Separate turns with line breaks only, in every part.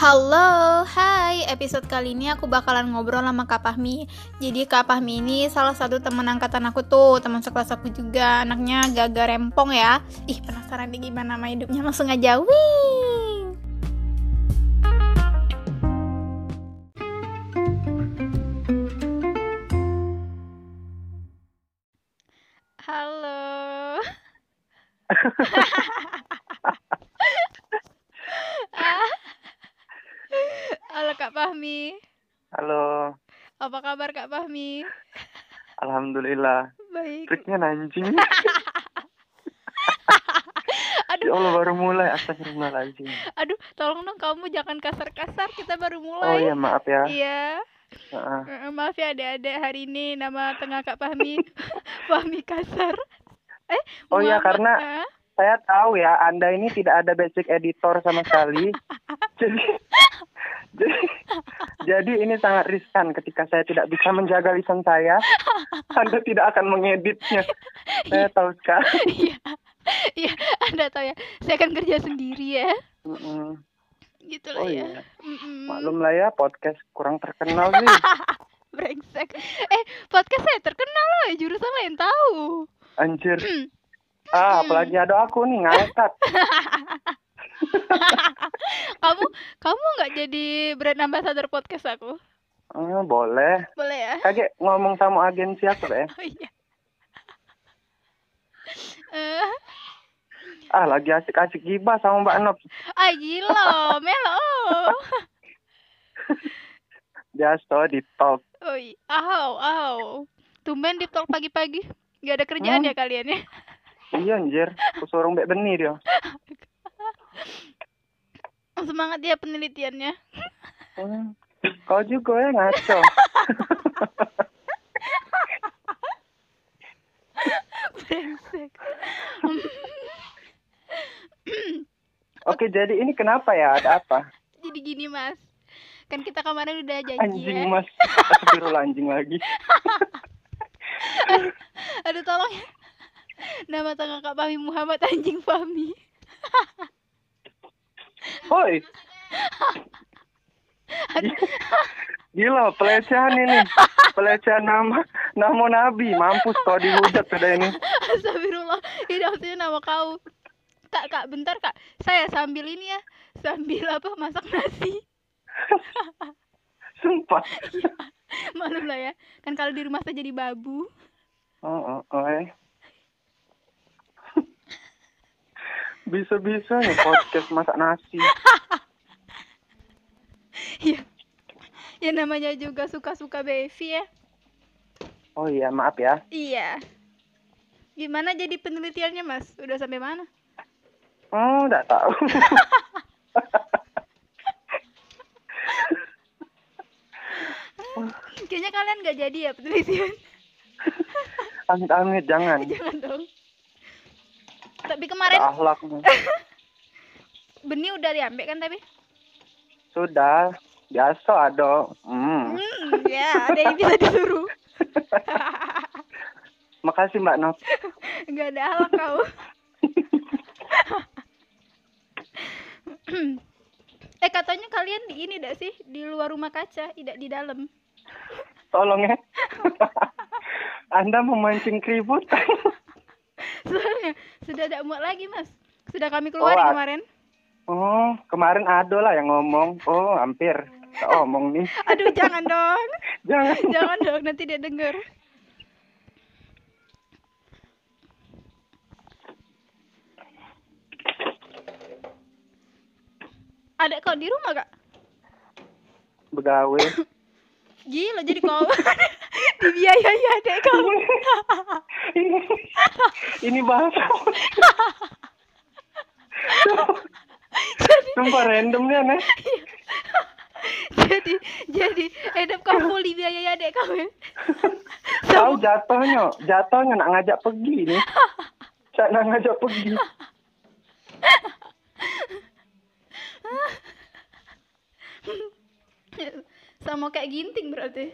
Halo, hai. Episode kali ini aku bakalan ngobrol sama Kak Pahmi. Jadi Kak Pahmi ini salah satu teman angkatan aku tuh, teman sekelas aku juga. Anaknya gaga rempong ya. Ih, penasaran nih gimana sama hidupnya langsung aja. Wih. Halo. Halo Kak Fahmi.
Halo,
Apa kabar Kak Fahmi?
alhamdulillah.
Baik.
Triknya anjing.
Aduh.
ya Allah baru mulai astagfirullahaladzim.
Aduh, tolong dong kamu jangan kasar-kasar. Kita baru mulai.
Oh ya maaf ya.
Iya.
Heeh.
Eh, Maaf ya ada-ada hari ini nama tengah Kak Fahmi. Fahmi kasar. Eh,
Oh iya,
Muhammad,
karena-
ah?
Saya tahu ya Anda ini tidak ada basic editor sama sekali. jadi jadi jadi ini sangat riskan ketika saya tidak bisa menjaga lisan saya. Anda tidak akan mengeditnya. Saya tahu sekali.
Iya. Iya, Anda tahu ya. Saya akan kerja sendiri ya.
Mm-mm.
Gitu
Oh
lah ya.
iya.
Mm-mm.
Maklum lah ya podcast kurang terkenal sih.
Brengsek. Eh, podcast saya terkenal loh, juru sama yang tahu.
Anjir. Ah, apalagi ada aku nih ngangkat.
kamu kamu nggak jadi brand ambassador podcast aku?
Eh, boleh.
Boleh ya?
kaget ngomong sama agensi aku deh.
Oh iya. Eh,
Ah lagi asik-asik gibah sama Mbak Nop.
ah gila, melo.
Biasa di top.
Oi, aw, aw. Tumben di talk pagi-pagi. Gak ada kerjaan
Hmm.
ya kalian ya?
Iya anjir, aku suruh Mbak Beni dia.
Semangat ya penelitiannya.
Hmm. Kau juga ya ngaco.
Brengsek.
Oke, jadi ini kenapa ya? Ada apa?
Jadi gini, Mas. Kan kita kemarin udah janji ya.
Anjing mas. Astagfirullah anjing lagi.
Aduh tolong ya. Nama tengah Kak Fahmi Muhammad anjing Fahmi.
Hoi. Gila, pelecehan ini. Pelecehan nama nama Nabi. Mampus kau dihujat sudah ini.
Astagfirullah. Ini maksudnya nama kau. Kak, Kak, bentar Kak. Saya sambil ini ya. Sambil apa masak nasi.
Sumpah.
Maklum lah ya. Kan kalau di rumah saya jadi babu.
Oh, oh, oh, eh. Bisa-bisa nih podcast masak nasi.
Iya. ya namanya juga suka-suka Bevi ya.
Oh iya, maaf ya.
Iya. Gimana jadi penelitiannya, Mas? Udah sampai mana?
Hmm, nggak tahu.
Kayaknya kalian nggak jadi ya penelitian.
Amit-amit, jangan.
Jangan dong. Tapi
Ada
kemarin
Akhlak. nih.
benih udah diambil kan tapi?
Sudah. Biasa ada. Hmm.
Hmm, ya, ada yang bisa disuruh.
Makasih Mbak Nov.
Nggak ada halak kau. eh katanya kalian di ini dah sih di luar rumah kaca, tidak di dalam.
Tolong ya. Anda memancing keributan.
Soalnya sudah tidak muat lagi mas. Sudah kami
Oh,
keluarin
ah.
kemarin.
Oh, kemarin ada lah yang ngomong. Oh, hampir. Tak omong nih.
Aduh jangan dong,
Jangan.
jangan dong nanti dia dengar. Ada kau di rumah kak?
Begawe.
Gila jadi kau dibiayai adek kau.
ini, ini bahasa. Sumpah ya, randomnya nih.
jadi jadi endap kamu dibiayai adek kau ya.
Tahu jatuhnya, jatuhnya nak ngajak pergi nih. Cak nak ngajak pergi.
Sama kayak ginting berarti.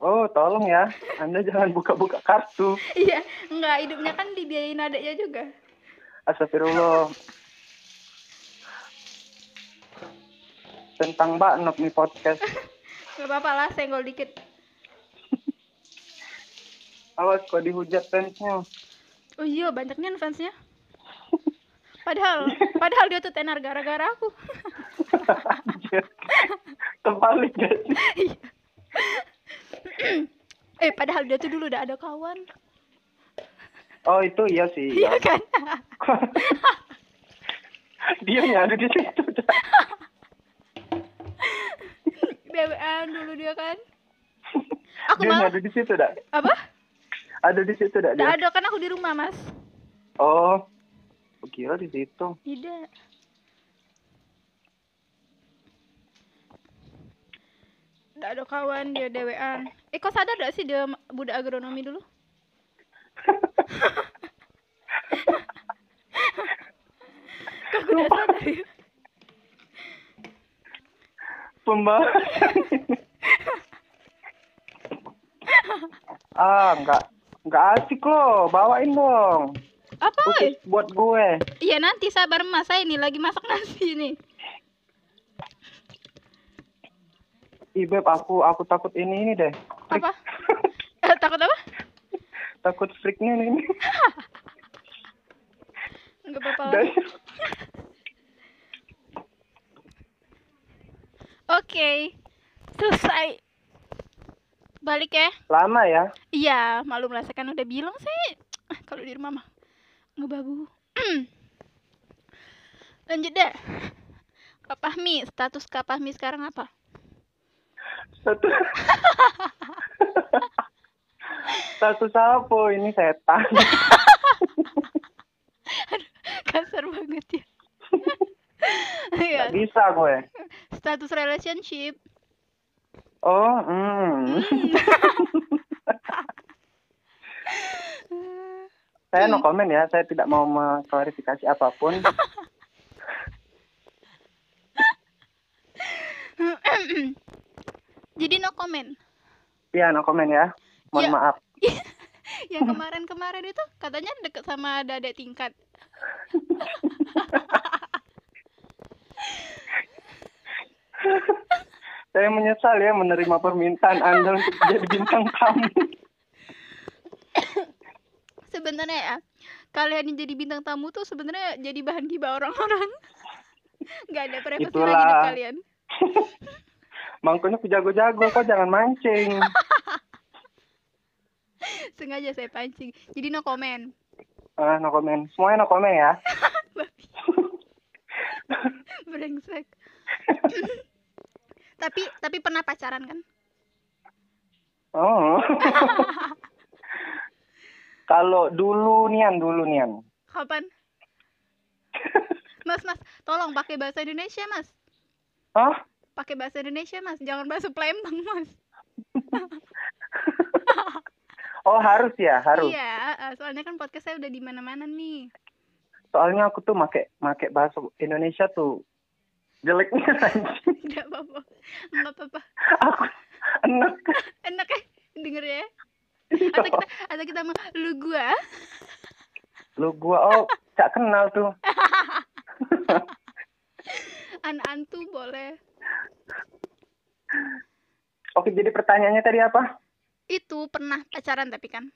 Oh, tolong ya. Anda jangan buka-buka kartu.
Iya, enggak hidupnya kan dibiayain adeknya juga.
Astagfirullah. tentang Mbak Nok nih podcast.
Gak apa-apa lah, senggol dikit.
Awas kok dihujat fansnya.
Oh iya, banyaknya fansnya. Padahal, padahal dia tuh tenar gara-gara aku.
Terbalik gak sih?
Iya. eh, padahal dia tuh dulu udah ada kawan.
Oh itu iya sih.
Iya kan?
dia nyari di situ. Cak.
BWN dulu dia kan. Aku
Dia
malah
nyari di situ dah.
apa?
Ada di situ dah
Tidak
dia.
ada kan aku di rumah, Mas.
Oh. Kira di situ.
Tidak. Tidak ada kawan dia DWN. Eh kau sadar gak sih dia ma- budak agronomi dulu? Kau udah sadar ya?
Pembahasan. ah, enggak enggak asik loh. Bawain dong.
Apa? ya?
Khusus buat gue.
Iya nanti sabar mas saya ini lagi masak nasi ini.
Ih, Beb, aku aku takut ini ini deh.
Apa? Eh, takut apa?
Takut freaknya ini.
Enggak apa-apa. lah.
Dan-
Oke. Selesai. Balik ya.
Lama ya.
Iya, malu lah saya kan udah bilang sih Ah, kalau di rumah mah ngebabu. Lanjut deh. Kapahmi, status Kapahmi sekarang apa?
Satu. Satu sapo ini setan.
Kasar banget ya. Iya,
Nggak bisa ya. gue.
status relationship.
Oh, hmm. saya no comment ya, saya tidak mau mengklarifikasi apapun.
Jadi no comment.
Iya, no comment ya. Mohon
Ya.
maaf.
Yang kemarin-kemarin itu katanya deket sama dadek tingkat.
Saya menyesal ya menerima permintaan Anda untuk jadi bintang tamu.
Sebenarnya ya, kalian yang jadi bintang tamu tuh sebenarnya jadi bahan gibah orang-orang. Gak ada privacy lagi
Itulah.
deh kalian.
Mangkunya aku jago-jago, kok jangan mancing.
Sengaja saya pancing. Jadi no comment.
Ah, no comment. Semuanya no comment ya.
Babi. Brengsek. tapi tapi pernah pacaran kan?
Oh. Kalau dulu nian, dulu nian.
Kapan? Mas, Mas, tolong pakai bahasa Indonesia, Mas.
Hah?
Pakai bahasa Indonesia, Mas. Jangan bahasa Palembang, Mas.
Oh harus ya, harus.
Iya, eh, soalnya kan podcast saya udah di mana-mana nih.
Soalnya aku tuh make make bahasa Indonesia tuh jeleknya anjing.
Enggak apa-apa. Enggak apa-apa.
aku enak.
Enak ya denger ya. Atau kita atau kita mau lu gua.
Lu gua oh gak kenal tuh.
An antu boleh.
Oke, jadi pertanyaannya tadi apa?
Itu pernah pacaran tapi kan.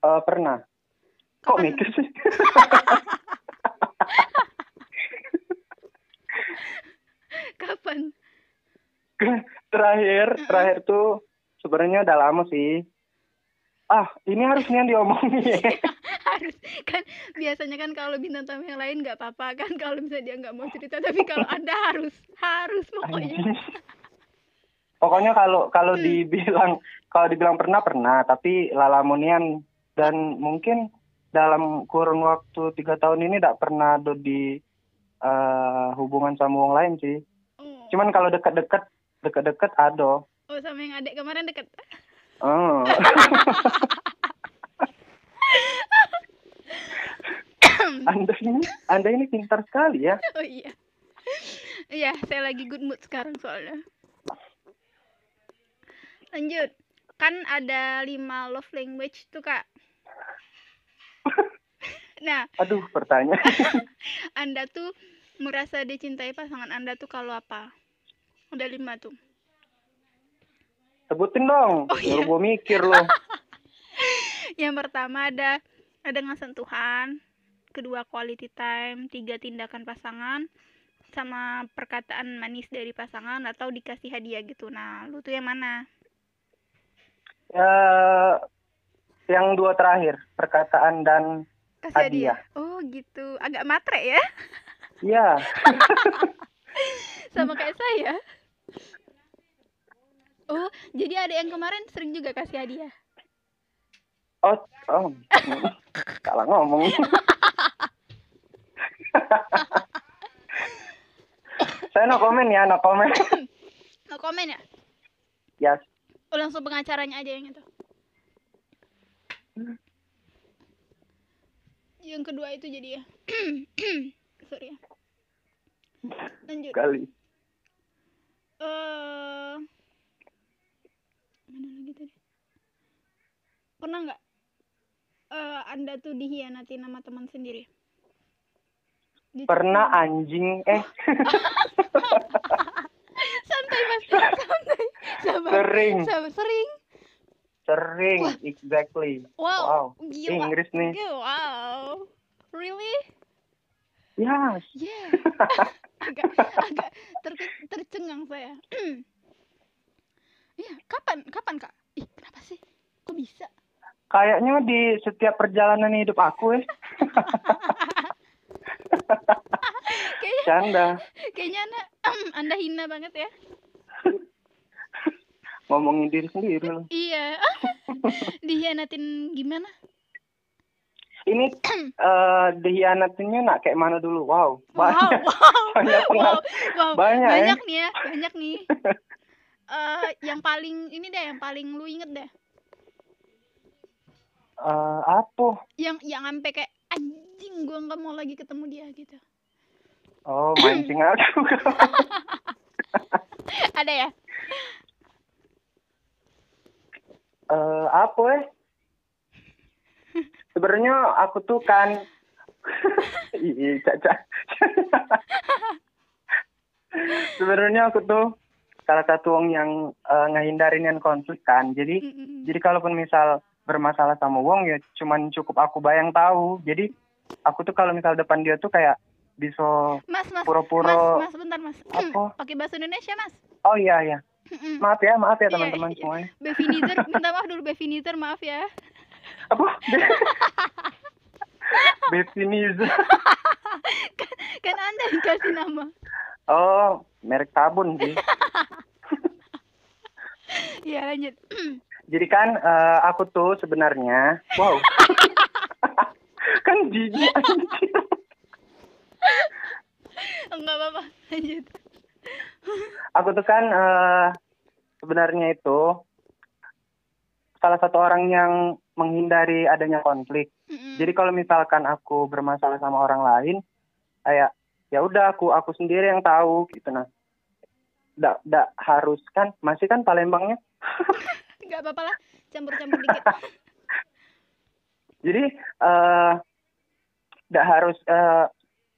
Eh, pernah. Kok
Kapan?
mikir sih?
Kapan?
terakhir, terakhir tuh sebenarnya udah lama sih. Ah, ini harus nian diomongin.
harus kan biasanya kan kalau bintang tamu yang lain nggak apa-apa kan kalau misalnya dia nggak mau cerita tapi kalau anda harus harus pokoknya
Anjing. Pokoknya kalau kalau
Hmm.
dibilang kalau dibilang pernah pernah, tapi lalamunian dan mungkin dalam kurun waktu tiga tahun ini tidak pernah ada di eh, hubungan sama orang lain sih.
oh,
Cuman kalau dekat-dekat dekat-dekat ada.
oh, sama yang adik kemarin deket
Oh. anda ini Anda ini pintar sekali ya.
oh iya iya saya lagi good mood sekarang soalnya lanjut kan ada lima love language tuh kak nah
Aduh, pertanyaan.
anda tuh merasa dicintai pasangan anda tuh kalau apa udah lima tuh
Sebutin dong,
Oh,
baru
iya.
gua mikir loh.
yang pertama ada ada dengan sentuhan kedua quality time tiga tindakan pasangan sama perkataan manis dari pasangan atau dikasih hadiah gitu nah lu tuh yang mana
Eh, yang dua terakhir, perkataan dan
kasih
Hadiah.
hadiah oh gitu agak matre ya
iya,
sama kayak saya oh jadi ada yang kemarin sering juga kasih hadiah
oh, oh, salah ngomong. Saya no comment ya, no comment. Ya
nggak komen ya
Yes.
oh, langsung pengacaranya aja yang itu yang kedua itu jadi ya sorry ya lanjut
kali.
eh mana lagi tadi pernah nggak eh anda tuh dihianati nama teman sendiri Dicekin.
Pernah anjing, eh
santai mas santai sabar
Sering.
sabar sering
sering, exactly.
wow,
Wow,
gila
Inggris nih.
Gila, wow really
Yes.
yeah agak agak terke- tercengang saya Iya, kapan kapan kak ih kenapa sih kok bisa
Kayaknya di setiap perjalanan hidup aku eh,
kayaknya
canda.
kayaknya anda anda hina banget ya
Ngomongin diri sendiri loh.
iya dihianatin gimana
Ini eh dihianatinya nak kayak mana dulu? Wow, banyak.
wow wow
banyak
wow,
pengal-
wow.
banyak, ya?
banyak nih ya banyak nih Eh, yang paling ini deh yang paling lu inget deh
Eh, apa?
yang yang sampai kayak anjing gua nggak mau lagi ketemu dia gitu
Oh, mancing aku.
ada ya
Eh, apa eh? Sebenarnya aku tuh kan Ih, caca. Sebenarnya aku tuh salah satu orang yang eh, ngehindarin yang konflik kan. Jadi
Mm-mm.
jadi kalaupun misal bermasalah sama wong ya cuman cukup aku bayang tahu. Jadi aku tuh kalau misal depan dia tuh kayak bisa
mas mas mas
pura-pura
mas hmm. bentar mas
Apa?
pakai bahasa Indonesia mas
Oh iya iya.
Mm-mm.
Maaf ya, maaf ya
Iya,
teman-teman
iya.
semuanya.
Bevinizer minta maaf dulu Bevinizer maaf ya
Apa? Beviniz.
kan anda yang kasih nama
Oh, merek sabun sih. Iya,
ya lanjut
Jadi kan eh, aku tuh sebenarnya, wow. kan jijik anjing.
enggak apa-apa lanjut
Aku tuh kan eh, sebenarnya itu salah satu orang yang menghindari adanya konflik.
Mm-mm.
Jadi kalau misalkan aku bermasalah sama orang lain, kayak ya udah aku aku sendiri yang tahu gitu nah. Nggak, nggak harus kan masih kan Palembangnya.
nggak apa-apa lah campur-campur dikit
Jadi eh nggak harus eh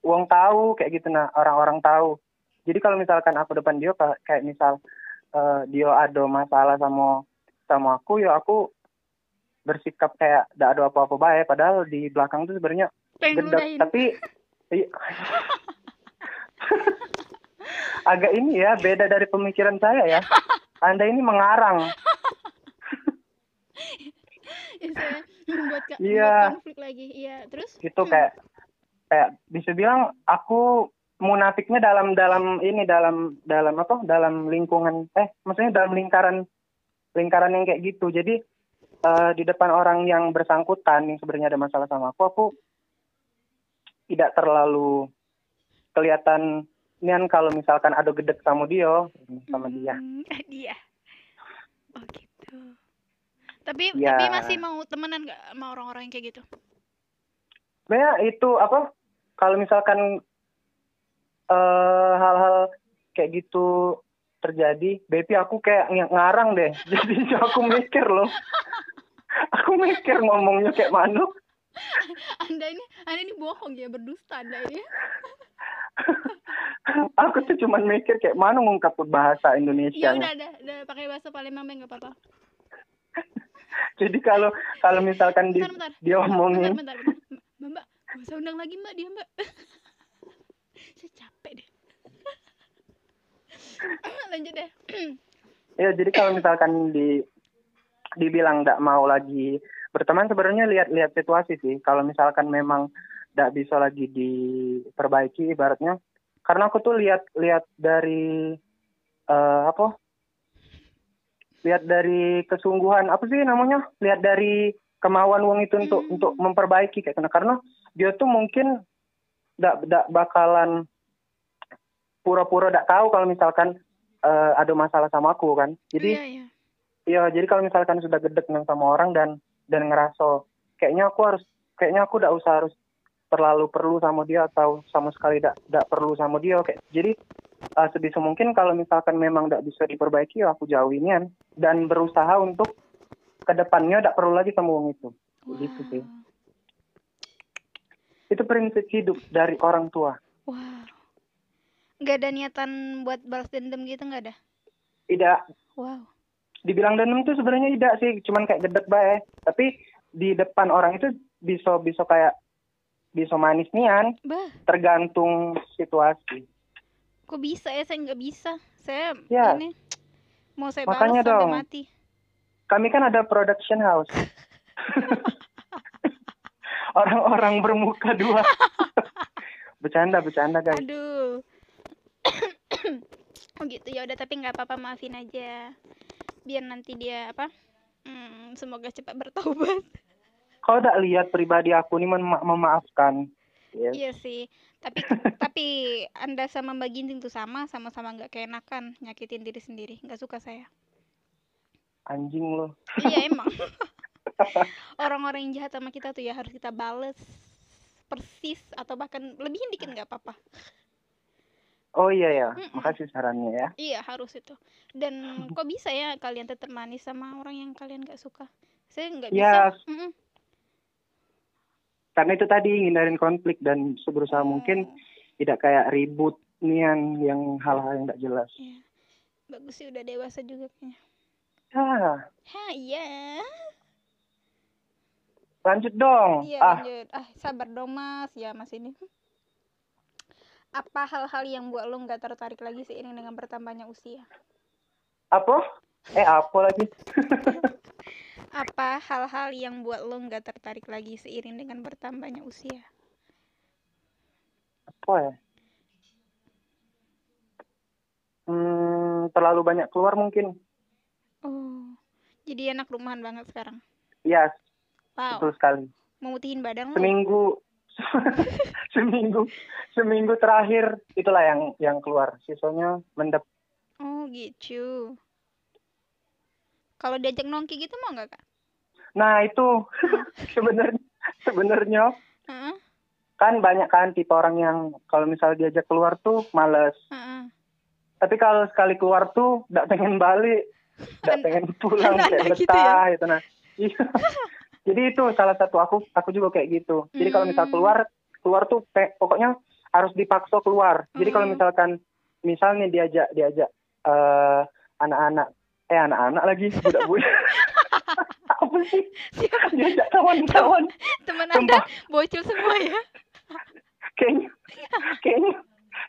uang tahu kayak gitu nah orang-orang tahu. Jadi kalau misalkan aku depan dia ka- kayak misal eh, dia ada masalah sama sama aku ya aku bersikap kayak nggak ada apa-apa baik padahal di belakang tuh sebenarnya
pengen
Gendap,
ludahin
tapi iya. agak ini ya beda dari pemikiran saya ya. Anda ini mengarang.
ya, saya membuat, ka-
Iya.
membuat konflik lagi iya terus
Itu kayak kayak bisa bilang aku munafiknya dalam dalam ini dalam dalam apa? Dalam lingkungan eh maksudnya dalam lingkaran lingkaran yang kayak gitu. Jadi eh, di depan orang yang bersangkutan yang sebenarnya ada masalah sama aku, aku tidak terlalu kelihatan nian kalau misalkan ada gedek sama dia sama dia.
Hmm, dia oh gitu tapi
Iya.
tapi masih mau temenan nggak sama orang-orang yang kayak gitu
Sebenarnya itu apa? Kalau misalkan eh, hal-hal kayak gitu terjadi, Bepi aku kayak ng- ngarang deh. Jadi aku mikir loh. Aku mikir ngomongnya kayak mana.
anda ini anda ini bohong ya berdusta anda ini
aku tuh cuman mikir kayak mana ngungkap bahasa Indonesia.
Ya udah, udah, udah pakai bahasa Palembang deh nggak apa-apa.
Jadi kalau kalau misalkan di,
Bentar, bentar.
dia
Bentar,
omongin
bentar, bentar. Mbak, mbak, bahasa undang lagi mbak dia mbak. Saya capek deh. Lanjut deh.
ya jadi kalau misalkan di dibilang tidak mau lagi berteman sebenarnya lihat-lihat situasi sih. Kalau misalkan memang tidak bisa lagi diperbaiki ibaratnya karena aku tuh lihat-lihat dari eh, apa? Lihat dari kesungguhan apa sih namanya? Lihat dari kemauan wong itu untuk
Hmm.
untuk memperbaiki kayak karena karena dia tuh mungkin ndak ndak bakalan pura-pura ndak tahu kalau misalkan eh, ada masalah sama aku kan. Jadi
Iya, iya.
Iya, jadi kalau misalkan sudah gedek nih sama orang dan dan ngerasa kayaknya aku harus kayaknya aku tidak usah harus terlalu perlu sama dia atau sama sekali tidak tidak perlu sama dia kayak jadi eh, sebisa mungkin kalau misalkan memang tidak bisa diperbaiki ya aku jauhin ya. dan berusaha untuk kedepannya tidak perlu lagi sama orang itu Gitu sih.
Wow.
itu prinsip hidup dari orang tua
Wow. Gak ada niatan buat balas dendam gitu nggak ada?
tidak
Wow.
dibilang dendam itu sebenarnya tidak sih cuman kayak gedek bae tapi di depan orang itu bisa bisa kayak bisa manis nian
Bah,
tergantung situasi.
kok bisa ya? Saya nggak bisa. Saya
Ya.
ini mau saya
Makanya
balas sampai
dong.
mati.
Kami kan ada production house. Orang-orang bermuka dua. bercanda, bercanda guys.
Aduh. oh gitu ya udah tapi nggak apa-apa maafin aja. Biar nanti dia apa? Hmm, semoga cepat bertobat.
Kau tak lihat pribadi aku ini mema- memaafkan. Ya, Yes.
Iya sih. Tapi tapi Anda sama Mbak Ginting tuh sama, sama-sama nggak keenakan nyakitin diri sendiri. nggak suka saya.
Anjing lo.
iya emang. Orang-orang yang jahat sama kita tuh ya harus kita bales persis atau bahkan lebihin dikit nggak apa-apa.
Oh iya ya,
Mm-mm.
makasih sarannya ya.
Iya harus itu. Dan kok bisa ya kalian tetap manis sama orang yang kalian nggak suka? Saya nggak bisa.
Yes.
Mm-mm.
Karena itu tadi hindarin konflik dan seberusaha
Iya.
mungkin tidak kayak ribut nian yang hal-hal yang tidak jelas.
Iya. Bagus sih udah dewasa juga kayaknya.
Ah,
Ha iya.
lanjut dong.
Iya
ah,
lanjut. Ah sabar dong mas. Ya mas ini. Apa hal-hal yang buat lo nggak tertarik lagi seiring dengan bertambahnya usia?
apa? Eh, apa lagi?
Apa hal-hal yang buat lo nggak tertarik lagi seiring dengan bertambahnya usia?
apa ya? Hmm, terlalu banyak keluar mungkin.
Oh, jadi anak rumahan banget sekarang.
Ya,
Wow, Hmm.
betul sekali.
memutihin badan lo. ya?
Seminggu, seminggu, seminggu terakhir itulah yang yang keluar. Sisanya mendep.
Oh gitu. Kalau diajak nongki gitu mau nggak kak?
Nah itu sebenarnya sebenarnya
Heeh,
kan banyak kan tipe orang yang kalau misalnya diajak keluar tuh males.
heeh.
Tapi kalau sekali keluar tuh nggak pengen balik, nggak
Anak-
pengen pulang kayak
anak
betah
Kan gitu
gitu, nah. Iya. Jadi itu salah satu aku aku juga kayak gitu. Jadi kalau misal
Hmm.
keluar keluar tuh pe- pokoknya harus dipaksa keluar. Jadi kalau
Hmm.
misalkan misalnya diajak diajak eh, anak-anak eh anak-anak lagi budak-budak apa sih
Siapa?
diajak kawan-kawan
Teman
Sumpah.
anda bocil semua ya?
kayaknya kayaknya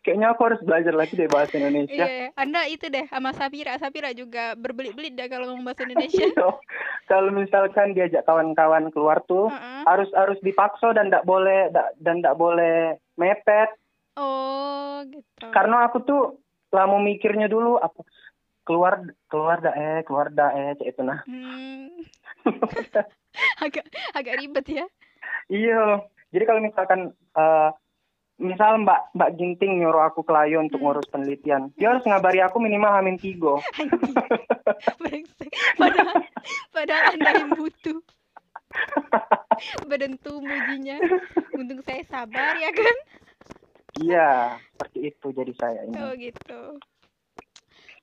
kayaknya aku harus belajar lagi deh bahasa Indonesia.
Iya, Anda itu deh sama Sapira. Sapira juga berbelit-belit dah kalau ngomong bahasa Indonesia.
kalau misalkan diajak kawan-kawan keluar tuh
Heeh.
harus harus dipaksa dan tidak boleh da- dan tidak boleh mepet
Oh, gitu.
karena aku tuh lah mau mikirnya dulu apa keluar keluar dah eh keluar dah eh kayak itu nah
Hmm. agak agak ribet ya.
iya jadi kalau misalkan eh, misal mbak mbak ginting nyuruh aku ke Layo untuk
Hmm.
ngurus penelitian dia harus ngabari aku minimal hamin tiga
Anjing. Brengsek. Padahal padahal Anda yang butuh. Badan tuh mujinya. Untung saya sabar ya kan.
iya seperti itu jadi saya ini
Oh gitu.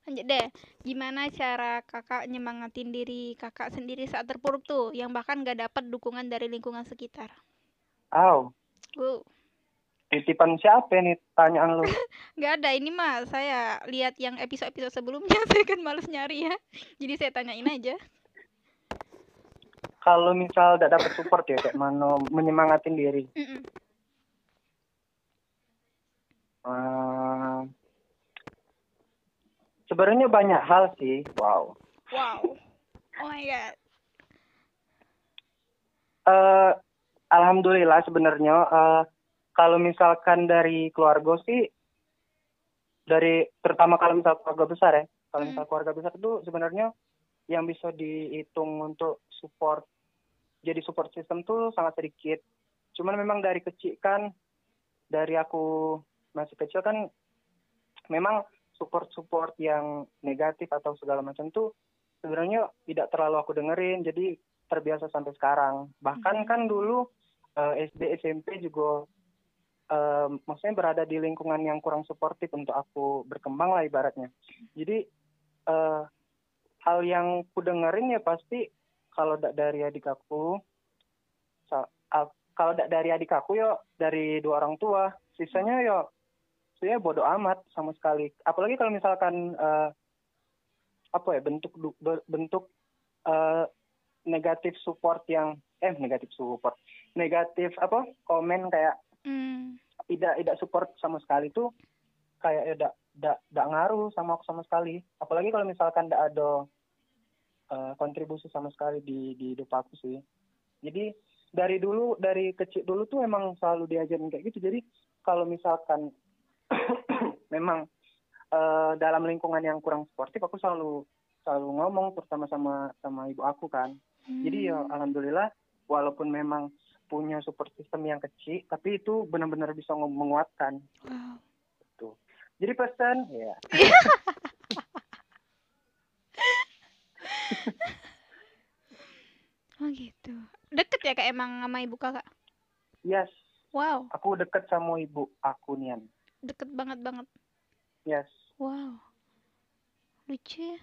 Lanjut deh, gimana cara kakak nyemangatin diri kakak sendiri saat terpuruk tuh, yang bahkan gak dapat dukungan dari lingkungan sekitar?
Au.
Wow.
Titipan siapa nih tanyaan lu?
Nggak ada ini mah saya lihat yang episode-episode sebelumnya saya kan males nyari ya. Jadi saya tanyain aja.
Kalau misal tidak dapat support ya kayak mana menyemangatin diri.
Mm-mm.
Ehm, Sebenarnya banyak hal sih. Wow.
Wow. Oh my god.
Eh, alhamdulillah sebenarnya eh, kalau misalkan dari keluarga sih dari terutama kalau misal keluarga besar ya kalau misal
Hmm.
keluarga besar itu sebenarnya yang bisa dihitung untuk support jadi support system tuh sangat sedikit cuman memang dari kecil kan dari aku masih kecil kan memang support support yang negatif atau segala macam tuh sebenarnya tidak terlalu aku dengerin jadi terbiasa sampai sekarang bahkan
Mhm.
kan dulu eh, SD SMP juga eh, maksudnya berada di lingkungan yang kurang suportif untuk aku berkembang lah ibaratnya jadi eh, hal yang ku dengerin ya pasti kalau tidak dari adik aku sa- a- kalau tidak dari adik aku yo dari dua orang tua sisanya yo saya bodoh amat sama sekali apalagi kalau misalkan eh, apa ya bentuk du- ber- bentuk eh, negatif support yang eh negatif support negatif apa komen kayak
Hmm.
tidak tidak support sama sekali itu kayak ya tidak tidak ngaruh sama aku sama sekali apalagi kalau misalkan tidak ada eh, kontribusi sama sekali di di hidup aku sih jadi dari dulu dari kecil dulu tuh emang selalu diajarin kayak gitu jadi kalau misalkan memang eh, dalam lingkungan yang kurang sportif aku selalu selalu ngomong terutama sama sama ibu aku kan jadi ya alhamdulillah walaupun memang punya support system yang kecil tapi itu benar-benar bisa nge- menguatkan. Gitu.
Wow.
Jadi pesan ya.
Oh gitu. Deket ya kak emang sama ibu kakak.
Yes,
Wow.
aku deket sama ibu aku Nian.
Deket banget banget.
Yes.
Wow. Lucu ya.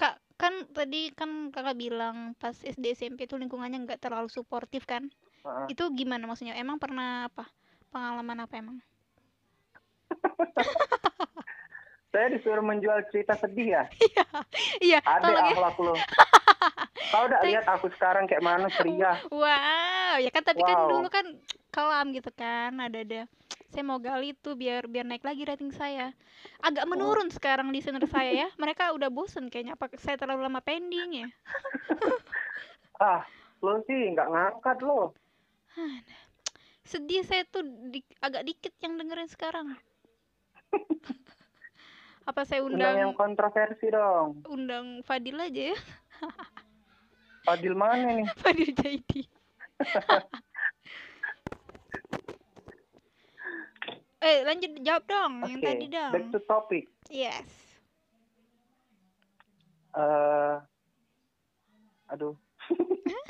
Kak kan tadi kan kakak bilang pas SD SMP itu lingkungannya nggak terlalu suportif kan?
Heeh.
Itu gimana maksudnya? Emang pernah apa? Pengalaman apa emang?
Saya disuruh menjual cerita sedih ya.
Iya,
Ada
tolong ya.
akhlak lu. Kau udah
Thank-
lihat aku sekarang kayak mana ceria.
Wow, ya kan tapi kan
Wow.
dulu kan kelam gitu kan, ada ada. Saya mau gali tuh biar biar naik lagi rating saya. Agak
Oh.
menurun sekarang listener saya ya. Mereka udah bosen kayaknya apa saya terlalu lama pending ya.
Ah, lu sih nggak ngangkat lo.
Sedih saya tuh di- agak dikit yang dengerin sekarang. apa saya
Undang yang
undang
kontroversi dong.
undang Fadil aja ya?
Fadil mana nih?
Fadil Jaidi. eh, lanjut jawab dong yang
Oke.
tadi dong.
Back to topic.
Yes.
eh aduh.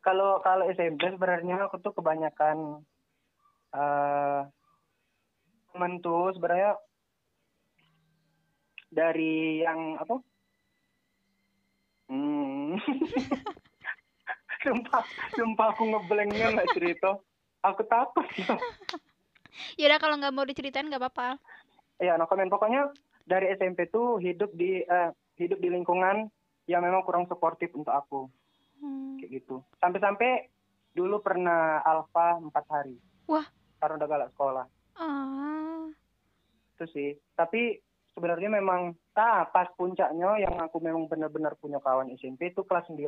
Kalau kalau SMP sebenarnya aku tuh kebanyakan eh temen tuh sebenarnya dari yang apa? Hmm. sumpah, sumpah aku ngeblengnya nggak cerita. Aku takut.
Yaudah kalau nggak mau diceritain nggak apa-apa.
Ya, no comment. Pokoknya dari SMP tuh hidup di eh, hidup di lingkungan yang memang kurang suportif untuk aku
Hmm.
kayak gitu. Sampai-sampai dulu pernah alfa empat hari.
Wah.
Karena udah galak sekolah.
Ah,
Itu sih. Tapi sebenarnya memang nah, pas puncaknya yang aku memang benar-benar punya kawan SMP itu kelas 9.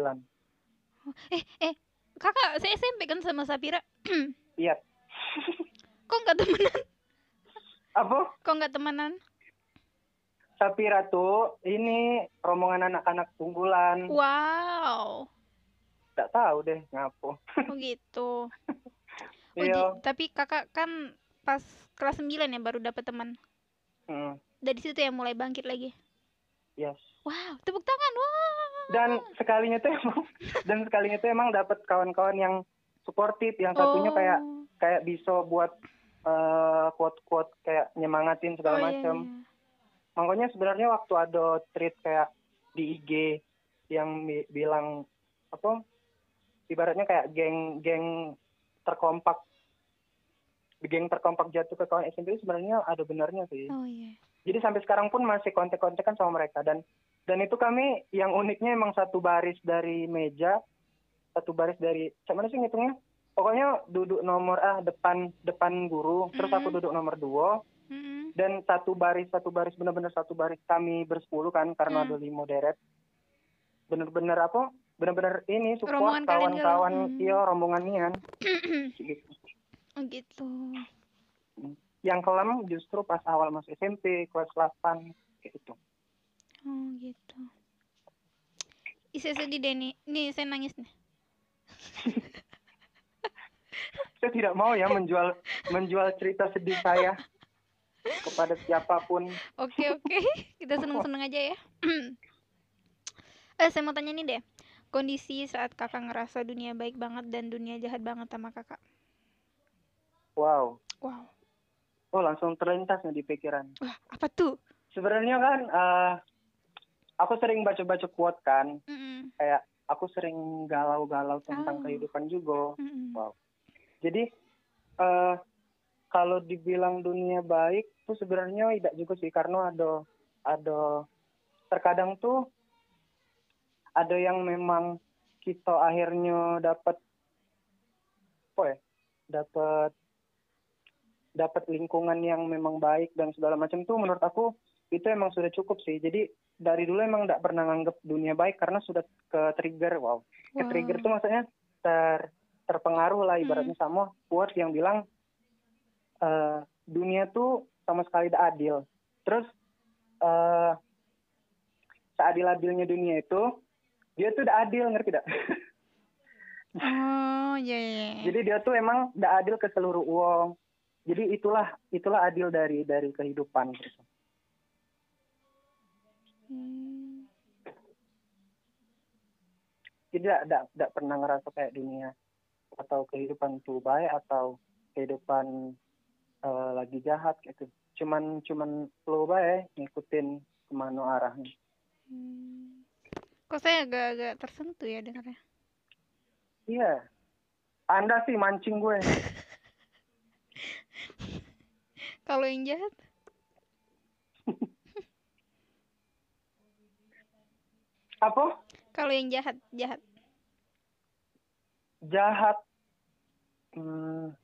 eh eh kakak saya SMP kan sama Sapira.
Iya.
Kok nggak temenan?
Apa?
Kok nggak temenan?
Sapira tuh ini rombongan anak-anak
Oh.
tunggulan.
Wow.
Tak tahu deh ngapo.
Oh gitu. Oh,
Iya.
ji- tapi kakak kan pas kelas 9 ya baru dapet teman.
Mm,
Dari situ ya mulai bangkit lagi.
yes.
Wow, tepuk tangan. Wow.
dan sekalinya tuh emang dan sekalinya tuh emang dapat kawan-kawan yang suportif yang satunya
Oh.
kayak kayak bisa buat eh, quote-quote kayak nyemangatin segala
Oh, iya,
macam
iya.
makanya sebenarnya waktu ada tweet kayak di IG yang bi- bilang apa ibaratnya kayak geng-geng terkompak geng terkompak jatuh ke kawan SMP itu sebenarnya ada benarnya sih.
Oh iya.
Jadi sampai sekarang pun masih kontak-kontakan sama mereka dan dan itu kami yang uniknya emang satu baris dari meja, satu baris dari cuman sih ngitungnya? Pokoknya duduk nomor ah depan depan guru, terus aku
Mm.
duduk nomor dua
Mm-mm.
dan satu baris satu baris bener-bener satu baris kami bersepuluh kan karena
Mm.
ada limo deret. Bener-bener apa? Bener-bener ini support
Rombongan kalian Hmm. gitu.
kawan-kawan
Mm.
iya rombongannya kan. Gitu.
oh gitu.
Yang kelam justru pas awal masuk SMP kelas 8 kayak gitu.
Oh gitu. Ih, saya sedih deh nih. Nih, saya nangis nih.
Saya tidak mau ya menjual menjual cerita sedih saya kepada siapapun.
Oke oke, kita seneng-seneng aja ya. eh, saya mau tanya nih deh, kondisi saat kakak ngerasa dunia baik banget dan dunia jahat banget sama kakak.
Wow.
Wow,
Oh, langsung terlintas nih di pikiran.
wah apa tuh?
Sebenarnya kan eh, aku sering baca-baca quote kan,
Mm-mm.
kayak aku sering galau-galau tentang
Oh.
kehidupan juga.
Mm-mm.
Wow. Jadi eh kalau dibilang dunia baik tuh sebenarnya tidak juga sih karena ada ada terkadang tuh ada yang memang kita akhirnya dapat apa ya? Dapat dapat lingkungan yang memang baik dan segala macam tuh menurut aku itu emang sudah cukup sih. Jadi dari dulu emang tidak pernah nganggep dunia baik karena sudah ke trigger wow ke
Wow.
trigger tuh maksudnya ter terpengaruh lah ibaratnya sama quotes yang bilang eh, dunia tuh sama sekali tidak adil. Terus eh seadil-adilnya dunia itu dia tuh tidak adil ngerti tidak?
Oh iya iya.
Jadi dia tuh emang tidak adil ke seluruh uang. Jadi itulah itulah adil dari dari kehidupan.
Hmm.
Jadi tidak pernah ngerasa kayak dunia atau kehidupan tuh baik atau kehidupan eh, lagi jahat gitu. Cuman cuman flow baik ngikutin kemana arahnya.
Hmm. Kok saya agak-agak tersentuh ya dengarnya.
Iya. Anda sih mancing gue.
Kalau yang jahat?
Apa?
Kalau yang jahat jahat.
Jahat. Hmm,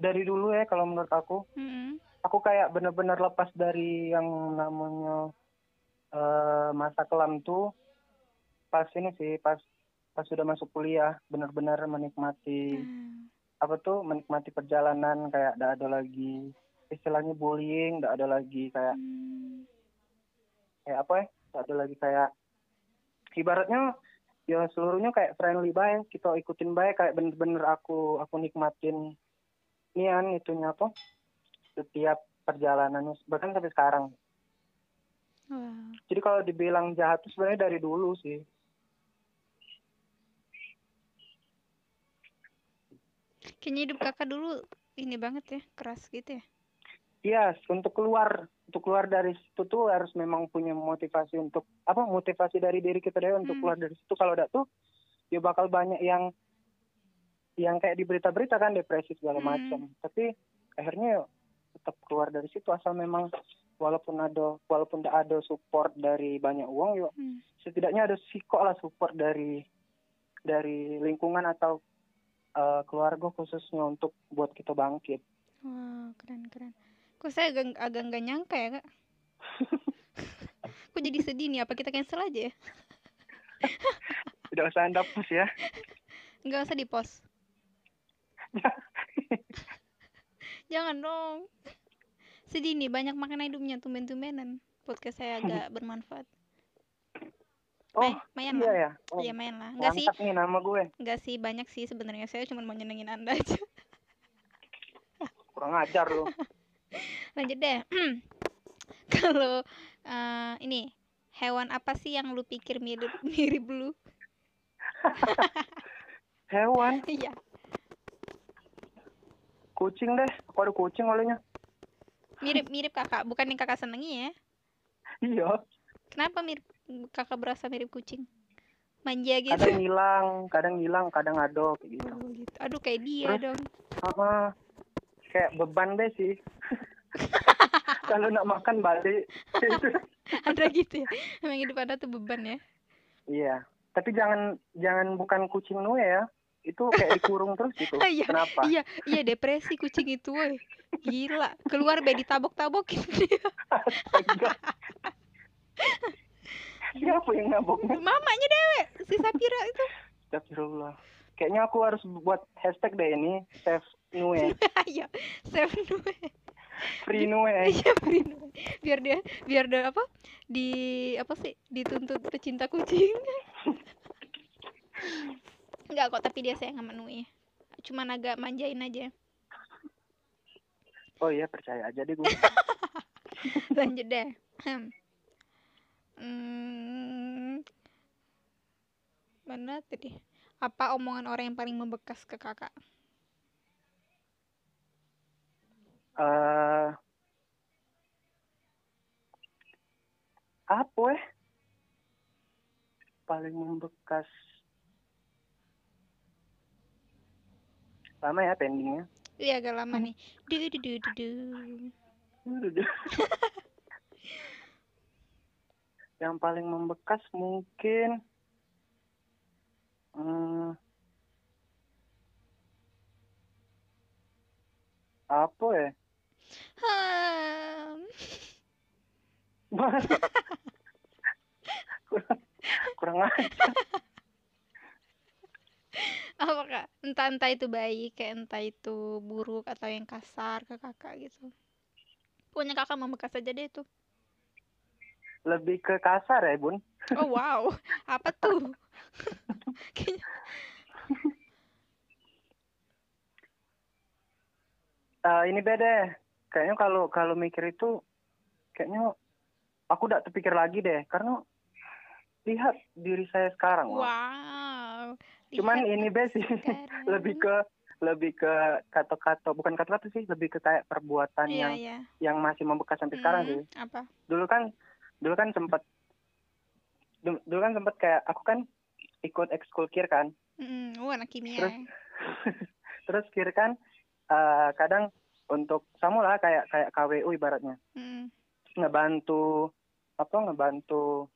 dari dulu ya kalau menurut aku,
Mm-mm.
aku kayak bener-bener lepas dari yang namanya eh, masa kelam tuh pas ini sih pas pas sudah masuk kuliah bener-bener menikmati
Ah.
apa tuh menikmati perjalanan kayak gak ada lagi istilahnya bullying gak ada lagi kayak
Hmm.
kayak apa ya gak ada lagi kayak ibaratnya ya seluruhnya kayak friendly baik kita ikutin baik kayak bener-bener aku aku nikmatin nian itunya apa setiap perjalanannya bahkan sampai sekarang
Wow.
jadi kalau dibilang jahat tuh sebenarnya dari dulu sih
Kayaknya hidup kakak dulu ini banget ya keras gitu ya.
Iya, untuk keluar untuk keluar dari situ tuh harus memang punya motivasi untuk apa motivasi dari diri kita deh untuk
Hmm.
keluar dari situ kalau enggak tuh ya bakal banyak yang yang kayak di berita-berita kan depresi segala
Hmm.
macam. Tapi akhirnya ya tetap keluar dari situ asal memang walaupun ada walaupun enggak ada support dari banyak uang yuk
Hmm.
setidaknya ada siko lah support dari dari lingkungan atau eh, keluarga khususnya untuk buat kita bangkit.
Wow, keren keren. Kok saya agak agak nggak nyangka ya kak? Kok jadi sedih nih? Apa kita cancel aja ya?
Tidak usah anda push ya.
Nggak usah di post. Jangan dong. Sedih nih, banyak makan hidupnya tumben-tumbenan. Podcast saya agak bermanfaat.
Oh,
May- mayan
Iya
lah.
ya. Oh,
Iya mayan lah. Nggak sih,
mantap nih nama gue.
nggak sih banyak sih sebenarnya. Saya cuma mau nyenengin anda aja.
Kurang ajar lu.
Lanjut deh. Kalau eh, ini hewan apa sih yang lu pikir mirip mirip lu?
Hewan,
Iya.
kucing deh. Aku ada kucing olehnya.
mirip mirip kakak bukan yang kakak senengi ya
Iya.
kenapa mirip kakak berasa mirip kucing manja gitu,
Kadang hilang, kadang hilang, kadang ada kayak gitu.
Oh, gitu. aduh kayak dia
Terus?
dong
Ah, ah. kayak beban deh sih. Kalau nak makan balik. Itu.
Ada gitu ya. Emang hidup Anda tuh beban ya.
Iya. Tapi jangan jangan bukan kucing Nue ya. Itu kayak dikurung terus gitu.
Iya,
Kenapa?
Iya, iya depresi kucing itu, woi. Gila, keluar be ditabok-tabokin dia.
Astaga. Siapa yang naboknya?
Mamanya dewe, si Sapira itu.
Astagfirullah. Kayaknya aku harus buat hashtag deh ini. ya. Save Nue.
Iya, save Nue.
Free Nue.
Iya, Brino. Biar dia biar dia apa? Di apa sih? Dituntut pecinta kucing. Enggak kok, tapi dia sayang sama Nue. Cuman agak manjain aja.
Oh iya percaya aja deh gue.
Lanjut deh. Hmm. Hmm. Mana tadi? Apa omongan orang yang paling membekas ke kakak?
Eh, apa eh paling membekas lama ya pendingnya
Iya agak lama nih. Du du du du. du.
yang paling membekas mungkin hmm, apa ya
Hmm.
Masa? kurang kurang aja.
Apa kak? Entah entah itu baik, kayak entah itu buruk atau yang kasar ke kakak gitu. Pokoknya kakak membekas aja deh itu.
lebih ke kasar ya bun
Oh wow, apa tuh? Kayaknya
Eh, ini beda kayaknya kalau kalau mikir itu kayaknya aku udah terpikir lagi deh karena lihat diri saya sekarang Wak.
wow.
cuman
Lihat
ini be sih
sekarang.
lebih ke lebih ke kata-kata bukan kata-kata sih lebih ke kayak perbuatan
Iya,
yang
iya.
yang masih membekas sampai sekarang
Mm,
sih
Apa?
dulu kan dulu kan sempat dulu dulu kan sempat kayak aku kan ikut ekskul kir kan
Mm, uh, anak kimia.
Terus- terus kir kan eh, kadang untuk sama lah kayak kayak KWU ibaratnya
Mm,
ngebantu apa ngebantu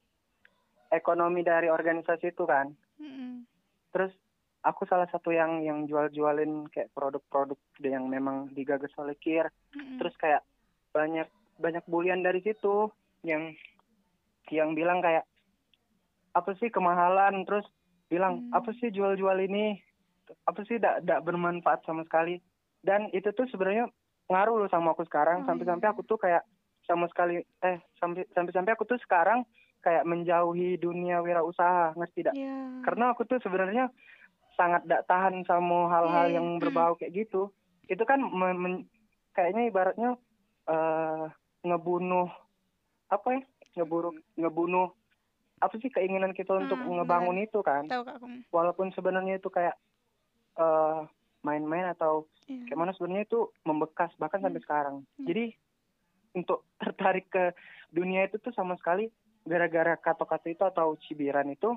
ekonomi dari organisasi itu kan
mm,
terus aku salah satu yang yang jual-jualin kayak produk-produk yang memang digagas oleh kir
mm,
terus kayak banyak banyak bulian dari situ yang yang bilang kayak apa sih kemahalan terus bilang
Hmm.
apa sih jual-jual ini apa sih tidak bermanfaat sama sekali dan itu tuh sebenarnya ngaruh loh sama aku sekarang
Oh,
sampai-sampai
iya.
aku tuh kayak sama sekali eh sampai sampai aku tuh sekarang kayak menjauhi dunia wirausaha ngerti tidak
Iya.
karena aku tuh sebenarnya sangat tidak tahan sama hal-hal
Iya, iya.
yang berbau kayak gitu itu kan men- men- kayaknya ibaratnya eh ngebunuh apa ya ngeburuk ngebunuh apa sih keinginan kita untuk
Hmm,
ngebangun itu kan
tahu kak aku.
walaupun sebenarnya itu kayak eh main-main atau
Iya.
kayak mana sebenarnya itu membekas bahkan sampai sekarang
Hmm.
jadi untuk tertarik ke dunia itu tuh sama sekali gara-gara kata-kata itu atau cibiran itu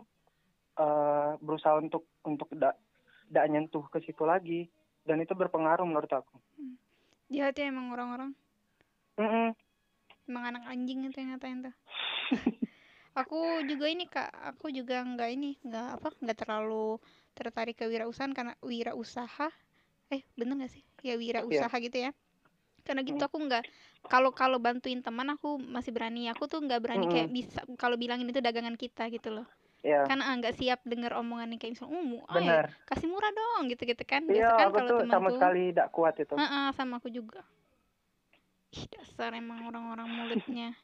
eh berusaha untuk untuk tidak tidak nyentuh ke situ lagi dan itu berpengaruh menurut aku
Jahat ya emang orang-orang.
Mm-mm.
Emang anak anjing itu yang ngatain tuh. aku juga ini kak, aku juga nggak ini, nggak apa, nggak terlalu tertarik ke wirausahaan karena wirausaha. Eh bener nggak sih? Ya wirausaha
Iya.
gitu ya. Karena gitu
Hmm.
aku nggak kalau kalau bantuin teman aku masih berani. Aku tuh nggak berani
Mm-mm.
kayak bisa kalau bilangin itu dagangan kita gitu loh.
ya
Karena ah, nggak siap denger omongan yang kayak misalnya, "Umu,
benar
kasih murah dong" gitu-gitu kan. Biasa
iya
kan
aku tuh sama sekali tidak kuat itu
Heeh, sama aku juga. Ih, dasar emang orang-orang mulutnya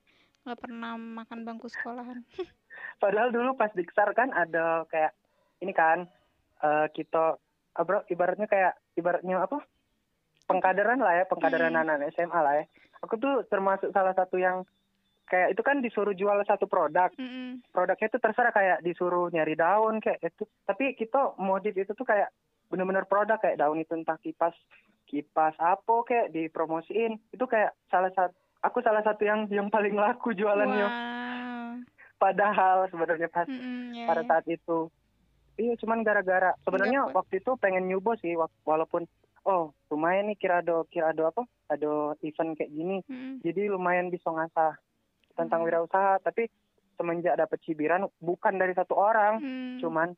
nggak pernah makan bangku sekolahan.
padahal dulu pas diksar kan ada kayak ini kan eh kita ah, bro ibaratnya kayak ibaratnya apa pengkaderan lah ya pengkaderan
Hmm.
anak SMA lah ya aku tuh termasuk salah satu yang kayak itu kan disuruh jual satu produk
Mm-mm.
produknya itu terserah kayak disuruh nyari daun kayak itu tapi kita modif itu tuh kayak bener-bener produk kayak daun itu entah kipas kipas apa kayak dipromosiin itu kayak salah satu aku salah satu yang yang paling laku jualannya
Wow.
padahal sebenarnya pas
Mm-mm, ya,
pada
ya.
saat itu. Iya, cuman gara-gara sebenarnya
Enggak, Pak.
waktu itu pengen nyoba sih wa- walaupun oh lumayan nih kira ada kira ada apa ada event kayak gini
Mm-mm.
jadi lumayan bisa ngasah tentang
Hmm.
wirausaha tapi semenjak dapat cibiran bukan dari satu orang
Mm.
cuman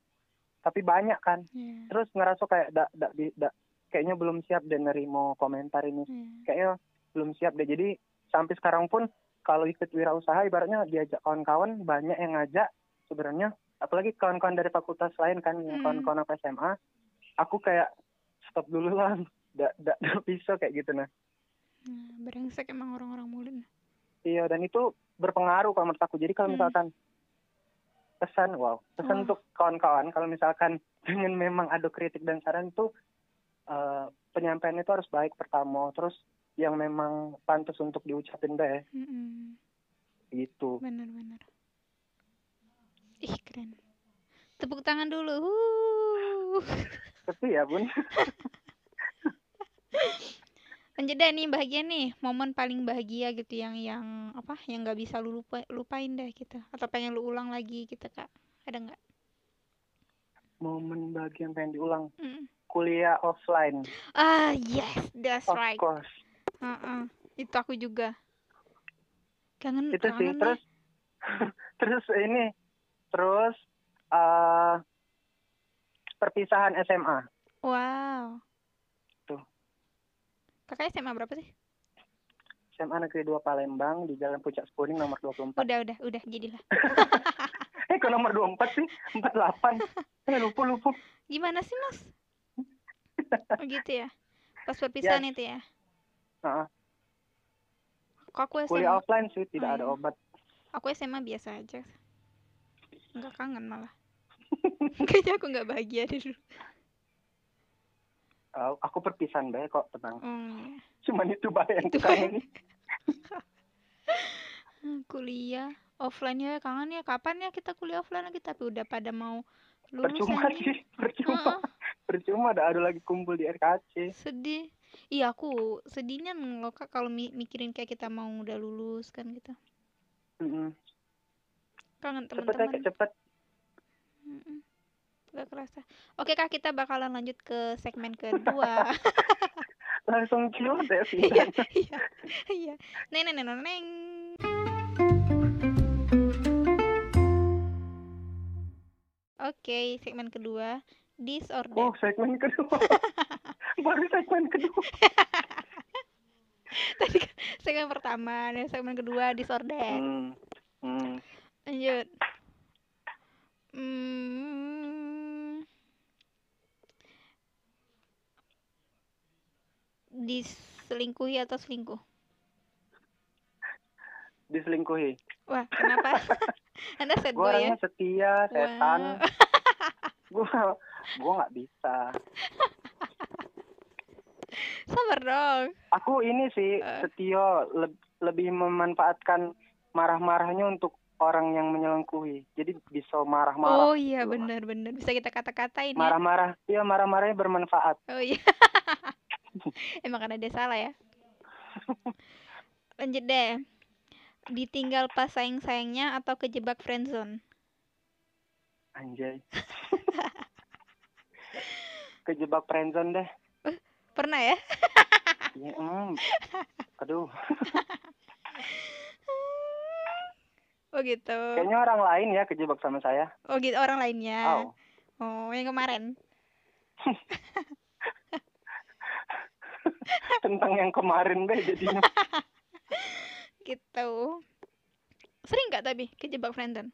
tapi banyak kan
Iya,
terus ngerasa kayak dak dak di- dak- kayaknya belum siap deh nerimo komentar ini
iya.
kayaknya belum siap deh jadi sampai sekarang pun kalau ikut wirausaha ibaratnya diajak kawan-kawan banyak yang ngajak sebenarnya apalagi kawan-kawan dari fakultas lain kan yang
Hmm.
kawan-kawan aku SMA aku kayak stop dulu lah dak dak dak bisa kayak gitu nah
Nah, brengsek emang orang-orang mulut
iya dan itu berpengaruh kalau menurut aku jadi kalau
Hmm.
misalkan pesan wow pesan
Oh.
untuk kawan-kawan kalau misalkan ingin memang ada kritik dan saran itu eh, penyampaian itu harus baik pertama terus yang memang pantas untuk diucapin deh
Mm-mm.
gitu
Benar-benar. Ih keren. Tepuk tangan dulu. Huh.
Tapi ya bun,
Lanjut deh nih bahagia nih momen paling bahagia gitu yang yang apa yang nggak bisa lu lupa, lupain deh gitu atau pengen lu ulang lagi gitu kak ada nggak?
momen bagi yang pengen diulang
Mm.
kuliah offline,
Ah yes that's
of
right.
course.
Heeh. Itu aku juga. Kangen
Itu sih.
kangen deh.
Terus, terus ini, terus eh, perpisahan SMA
Wow.
Tuh.
Kakak SMA berapa sih?
SMA Negeri 2 Palembang di Jalan Puncak Sekuning nomor 24.
Udah udah udah jadilah.
Eh kok nomor 24 sih? 48. Eh lupa lupa.
Gimana sih mas? Oh gitu ya. Pas perpisahan itu ya.
Heeh.
Kok aku
kuliah
SMA?
offline sih tidak
Oh,
ada
iya.
obat.
Aku SMA biasa aja. Nggak kangen malah. Kayaknya aku nggak bahagia deh dulu.
Eh, aku perpisahan deh kok tenang.
Hmm, ya.
Cuman itu bahaya yang
Itu
kita
baik.
ini.
Hmm, Kuliah offline ya kangen ya. Kapan ya kita kuliah offline lagi? Tapi udah pada mau lulus
Percuma
anjing.
sih, percuma.
Heeh.
Percuma ada ada lagi kumpul di RKC.
sedih iya aku sedihnya loh kak kalau mi- mikirin kayak kita mau udah lulus kan gitu
Mm-mm.
kangen
Cepet ya,
teman-teman
cepet.
Mm-mm. nggak kerasa oke kak kita bakalan lanjut ke segmen kedua
langsung kilat ya sih.
iya iya iya neng neng neng neng Oke, segmen kedua
Oh,
disorder.
segmen kedua. Baru segmen kedua.
Tadi kan segmen pertama, dan segmen kedua disorder.
Hmm. Hmm.
Lanjut. Hmm. Diselingkuhi atau selingkuh?
Diselingkuhi.
Wah, kenapa? Anda sad
Gue
boy ya?
orangnya setia, setan. Gue
Wah.
gue nggak bisa.
Sabar dong.
Aku ini sih
Eh.
setia leb- lebih memanfaatkan marah-marahnya untuk orang yang menyelingkuhi. Jadi bisa marah-marah.
Oh iya,
Wah.
benar-benar bisa kita kata-katain ya.
Marah-marah. Iya, marah-marahnya bermanfaat.
Oh iya. Emang karena dia salah ya. Lanjut deh. Ditinggal pas sayang-sayangnya atau kejebak friendzone?
Anjay. Kejebak friendzone deh.
Pernah ya?
Iya, mm. Aduh.
Oh gitu.
Kayaknya orang lain ya kejebak sama saya.
Oh gitu orang lainnya.
Oh,
Oh, yang kemarin.
tentang yang kemarin deh jadinya.
Gitu. Sering nggak tapi kejebak friendzone?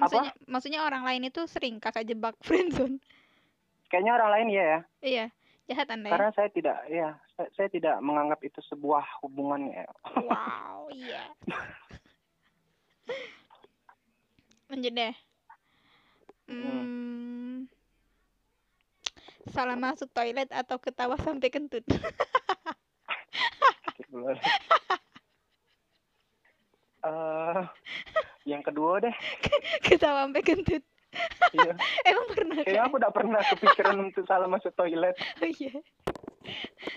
Maksudnya, maksudnya orang lain itu sering kakak jebak friendzone.
Kayaknya orang lain ya ya.
iya, jahat Anda ya.
Karena saya tidak ya, saya, saya tidak menganggap itu sebuah hubungan ya.
Wow, iya. Lanjut deh. Hmm. Salah masuk toilet atau ketawa sampai kentut.
Gitu loh. Eh, yang kedua deh.
ketawa sampai kentut.
Iya.
Emang pernah
Kayaknya
kan?
aku tidak pernah kepikiran untuk salah masuk toilet.
Oh iya.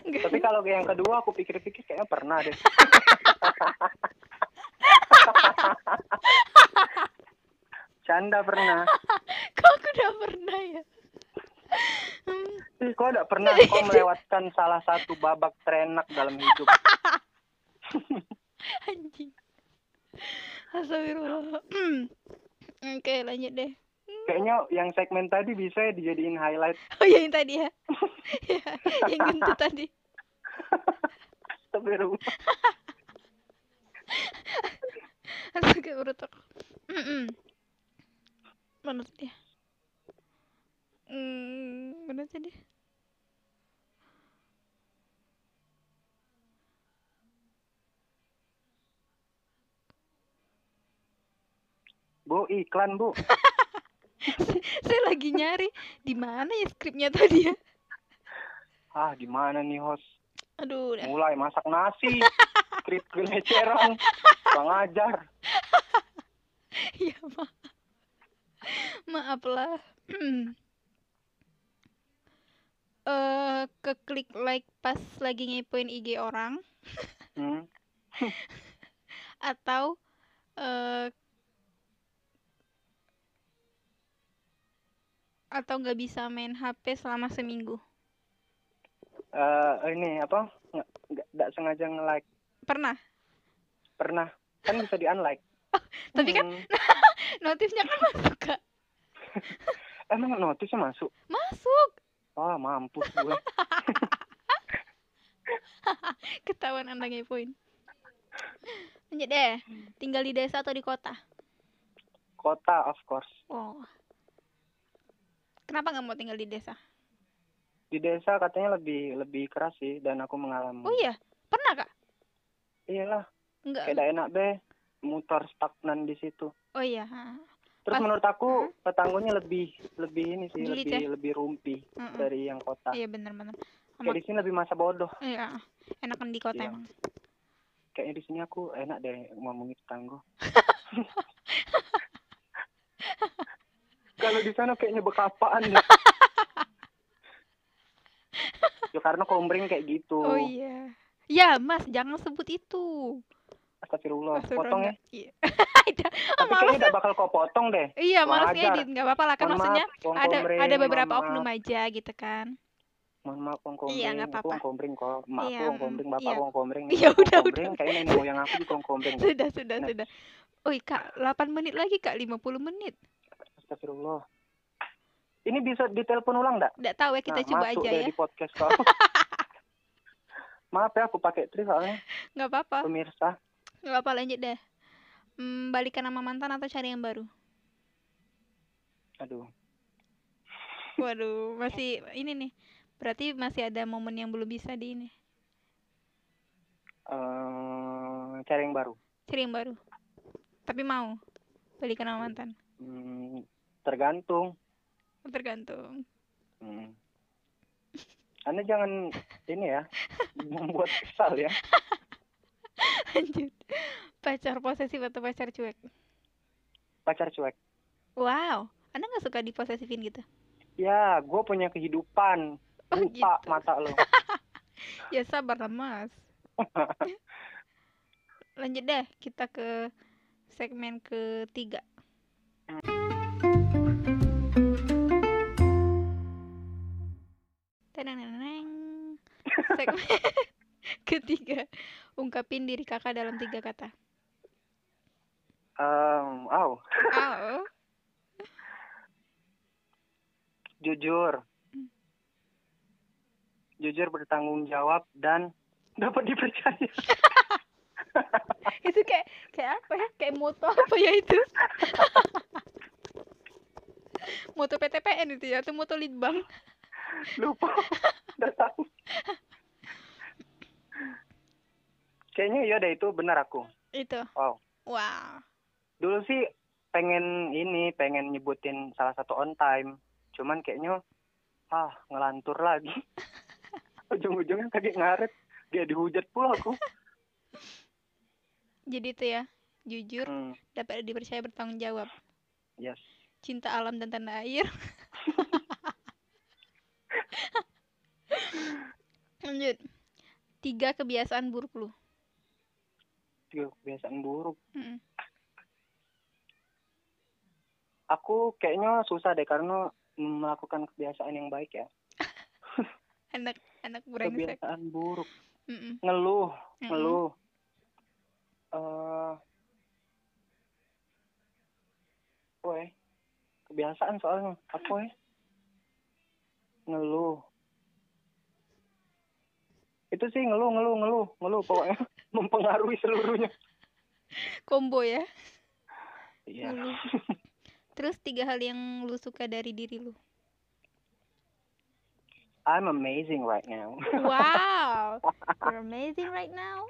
Enggak.
Tapi kalau yang kedua aku pikir-pikir kayaknya pernah deh. Canda pernah.
Kok aku udah pernah ya?
Ih, kau tidak pernah kau melewatkan salah satu babak terenak dalam hidup.
Anjing. Astagfirullah. Hmm. Oke, lanjut deh.
Kayaknya yang segmen tadi bisa ya dijadiin highlight.
Oh ya yang tadi ya. Ya, yang gendut tadi.
Tapi rumah.
Aduh, kayak berotok. Mm-mm. Mana tadi ya? Hmm, mana tadi?
Bu, iklan, Bu.
Saya lagi nyari di mana ya skripnya tadi ya.
Ah, di mana nih host?
Aduh, udah.
Mulai masak nasi. Skrip geleceran. Bang ajar.
ya maaf. Maaf lah. Hmm. Eh, keklik like pas lagi ngepoin IG orang
Hmm.
atau eh atau nggak bisa main HP selama seminggu.
Eh, ini apa? Nggak- Nggak nggak sengaja nge-like.
Pernah.
Pernah. Kan bisa di-unlike.
Tapi kan
Hmm.
notifnya kan masuk Kak.
Eh, Emang notisnya masuk?
Masuk.
Wah, mampus gue.
Ketahuan Anda ngepoin. Lanjut deh.
Hmm.
Tinggal di desa atau di kota?
Kota, of course.
Oh. Kenapa nggak mau tinggal di desa?
Hmm. Di desa katanya lebih lebih keras sih. Dan aku mengalami.
Oh iya, pernah kak?
Iyalah.
Enggak.
Kayak nggak enak deh. Mutar stagnan di situ.
Oh iya. ha.
Terus
Pas- Hmm?
menurut aku tetanggonya lebih lebih ini sih
Jeli,
lebih lebih rumpi
ya? Mm-mm.
dari yang kota.
Iya benar-benar.
Kayak di sini lebih masa bodoh.
Iya. Enakan di kota
Iya.
emang.
Kayaknya di sini aku enak deh ngomongin tetangga. Kalau di sana kayaknya bekapaan ya. ya karena kombreng kayak gitu.
Oh iya. Ya Mas, jangan sebut itu.
Astagfirullah,
Astagfirullah,
potong ya.
enggak. Iya.
Tapi kayaknya udah bakal kau potong deh.
Iya,
Kurang
males
ajar.
ngedit, nggak apa-apa lah kan
Mohon
maksudnya
maaf, wong
ada
kombreng,
ada beberapa
mohon
oknum
maaf.
aja gitu kan.
Mohon maaf, wong kombreng.
Iya, nggak
Aku
apa-apa.
wong kombreng kok. Emak
Iya,
aku wong kombreng, bapak
iya.
wong kombreng.
Ya
Wong
udah,
kombreng,
udah.
kayaknya nenek moyang aku di wong kombreng. deh.
Sudah, sudah,
Nah.
sudah. Oi Kak, 8 menit lagi Kak, 50 menit.
Astagfirullah. Ini bisa ditelepon ulang nggak?
Nggak tahu ya, kita
Nah,
coba
masuk
aja
deh
ya.
di podcast kau. Maaf ya aku pakai tri soalnya
Nggak apa-apa.
pemirsa.
Nggak apa-apa, lanjut deh. Hmm, balikan sama mantan atau cari yang baru?
Aduh,
Waduh, masih ini nih. Berarti masih ada momen yang belum bisa di ini.
eh cari yang baru.
Cari yang baru. Tapi mau balikan sama mantan.
Hmm, tergantung.
Tergantung.
Hmm. Anda jangan ini ya membuat kesal ya.
Lanjut. Pacar posesif atau pacar cuek?
Pacar cuek.
Wow, Anda nggak suka diposesifin gitu?
Ya, gue punya kehidupan.
Oh,
Lupa
gitu.
mata lo.
Ya sabar lah mas. Lanjut deh, kita ke segmen ketiga. Tenang, segmen ketiga. Ungkapin diri kakak dalam tiga kata.
Em, au,
Oh,
jujur. Jujur bertanggung jawab dan dapat dipercaya.
itu kayak kayak apa ya? Kayak moto apa ya itu? moto PTPN itu ya, atau moto litbang?
lupa nggak tahu kayaknya iya deh itu benar aku
Itu.
Wow.
Wow.
dulu sih pengen ini pengen nyebutin salah satu on time cuman kayaknya ah ngelantur lagi ujung-ujungnya tadi ngaret dia dihujat pula aku
Jadi itu ya, jujur,
Hmm,
dapat dipercaya bertanggung jawab,
yes
cinta alam dan tanah air. Lanjut. Tiga kebiasaan buruk lu.
Tiga kebiasaan buruk
Mm-mm.
aku kayaknya susah deh karena melakukan kebiasaan yang baik ya.
anak anak brengsek
Kebiasaan buruk,
Mm-mm.
ngeluh,
Mm-mm.
ngeluh. Eh, weh, kebiasaan soalnya apa ya? Ngeluh. Itu sih ngeluh, ngeluh, ngeluh, ngeluh pokoknya mempengaruhi seluruhnya.
combo ya
Iya.
Ngeluh. terus tiga hal yang lu suka dari diri lu
I'm amazing right now.
wow you're amazing right now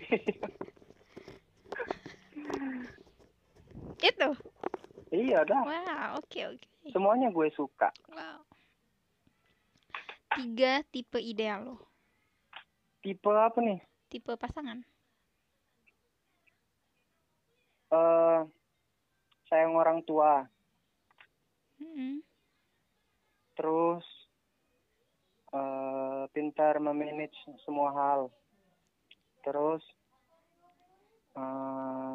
itu
iya dah.
wow oke oke
Semuanya gue suka.
wow tiga tipe ideal lo
Tipe apa nih?
tipe pasangan
eh sayang orang tua,
Mm-mm.
terus eh pintar memanage semua hal, terus eh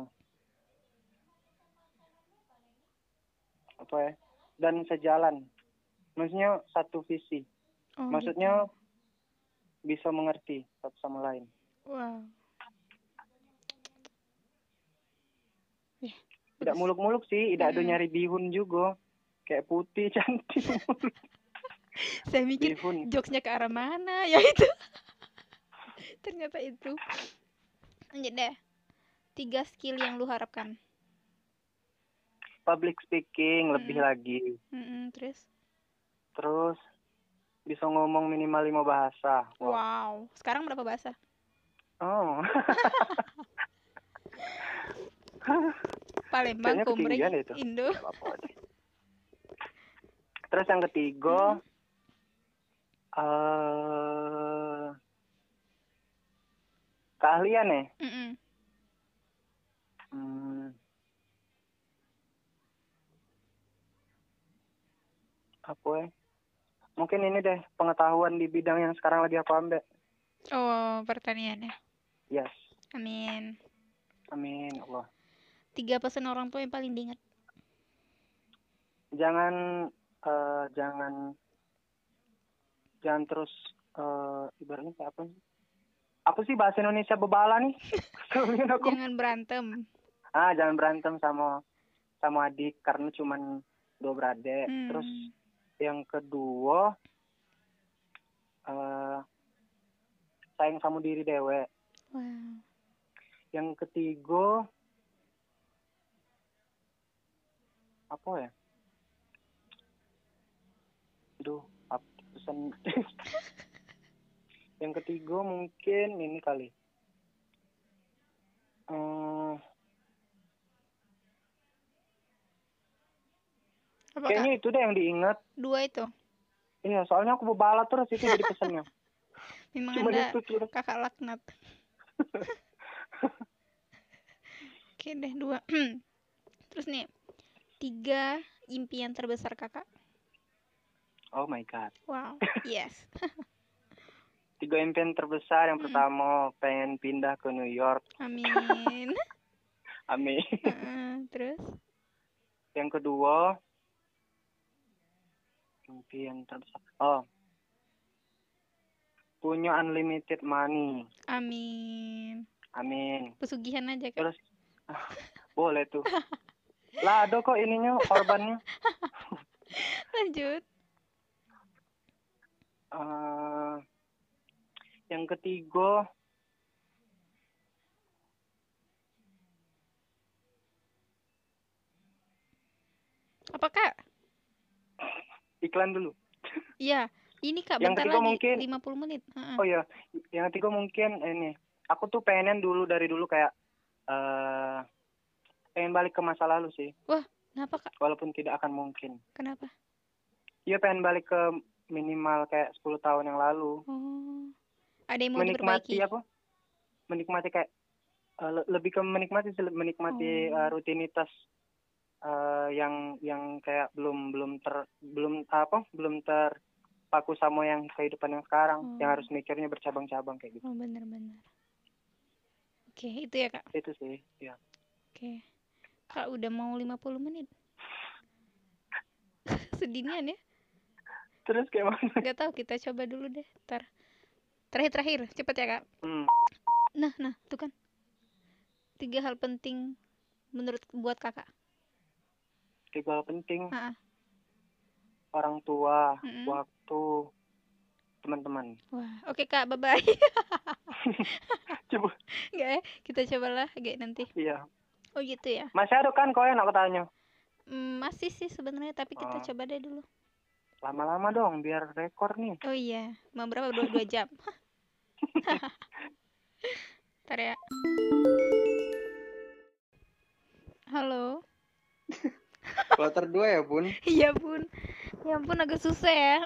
apa ya? Dan sejalan, maksudnya satu visi,
Oh,
maksudnya bisa mengerti satu sama lain.
gitu. wow Ya,
Tidak
bagus.
muluk-muluk sih, tidak ada
Mm-mm.
nyari bihun juga, kayak putih cantik.
saya mikir
bihun.
jokesnya ke arah mana ya itu ternyata itu lanjut deh tiga skill yang lu harapkan
Public speaking lebih
Mm-mm.
lagi.
Mm-mm, terus
Terus bisa ngomong minimal lima bahasa. Wah.
wow sekarang berapa bahasa
Oh,
Palembang
Kayaknya
Komering
ketinggian ya itu.
Indo
nggak apa-apa deh. Terus yang ketiga, eh keahlian ya.
Mm-mm.
Hmm. Apa ya? Mungkin ini deh pengetahuan di bidang yang sekarang lagi aku ambil.
oh pertanian ya
Yes.
amin
Amin Allah.
tiga pesan orang tua yang paling diingat
jangan eh, jangan jangan terus eh, ibaratnya kayak apa sih? Apa sih bahasa Indonesia bebala nih? Kemudian aku
jangan berantem
ah jangan berantem sama sama adik karena cuman dua beradik.
Hmm.
Terus yang kedua eh sayang sama diri dewe.
wow
Yang ketiga apa ya? Duh, apa pesan? yang ketiga mungkin ini kali. Eh,
Apakah
kayaknya itu deh yang diingat.
dua itu
Iya, soalnya aku bebala terus itu jadi pesannya.
memang
Cuma
ada
itu tuh.
kakak laknat oke deh dua terus nih tiga impian terbesar kakak
Oh my god.
wow yes
Tiga impian terbesar. Yang
Mm-mm.
pertama pengen pindah ke New York.
Hmm, amin
Amin.
Heeh, terus
Yang kedua mimpi yang terbesar. Oh. Punya unlimited money.
amin
Amin.
pesugihan aja kan
Terus ah, boleh tuh. Lah ada kok ininya korbannya.
lanjut
Eh, yang ketiga
apa kak
iklan dulu.
iya ini kak
Yang
bentar
ketiga
lagi
mungkin-
50 menit Heeh.
Oh iya, yang ketiga mungkin ini. Aku tuh pengen dulu dari dulu kayak eh pengen balik ke masa lalu sih,
kenapa kak
walaupun tidak akan mungkin.
kenapa
Iya pengen balik ke minimal kayak 10 tahun yang lalu.
oh ada yang mau
menikmati
diperbaiki
apa? Menikmati kayak eh, le- lebih ke menikmati sih, menikmati
Oh.
eh, rutinitas eh, yang yang kayak belum belum ter belum apa? Belum terpaku sama yang kehidupan yang sekarang,
Oh.
yang harus mikirnya bercabang-cabang kayak gitu.
oh benar-benar oke itu ya kak
Itu sih, ya.
Oke. Kak udah mau 50 menit. sedinian ya
Terus kayak mana?
nggak tahu kita coba dulu deh ntar terakhir terakhir cepet ya kak
Hmm.
nah nah tuh kan tiga hal penting menurut buat kakak
Tiga hal penting
Ah, ah.
orang tua,
Mm-mm.
waktu, teman-teman.
wah oke kak bye bye
Coba.
nggak ya kita cobalah kayak nanti
Iya.
oh gitu ya
Masih ada kan kau yang nak tanya?
Mm, masih sih sebenarnya tapi
Ah.
kita coba deh dulu
Lama-lama dong biar rekor nih.
oh iya mau berapa dua dua jam ntar ya halo
Kloter dua ya, Bun.
Iya bun, ya ampun agak susah ya.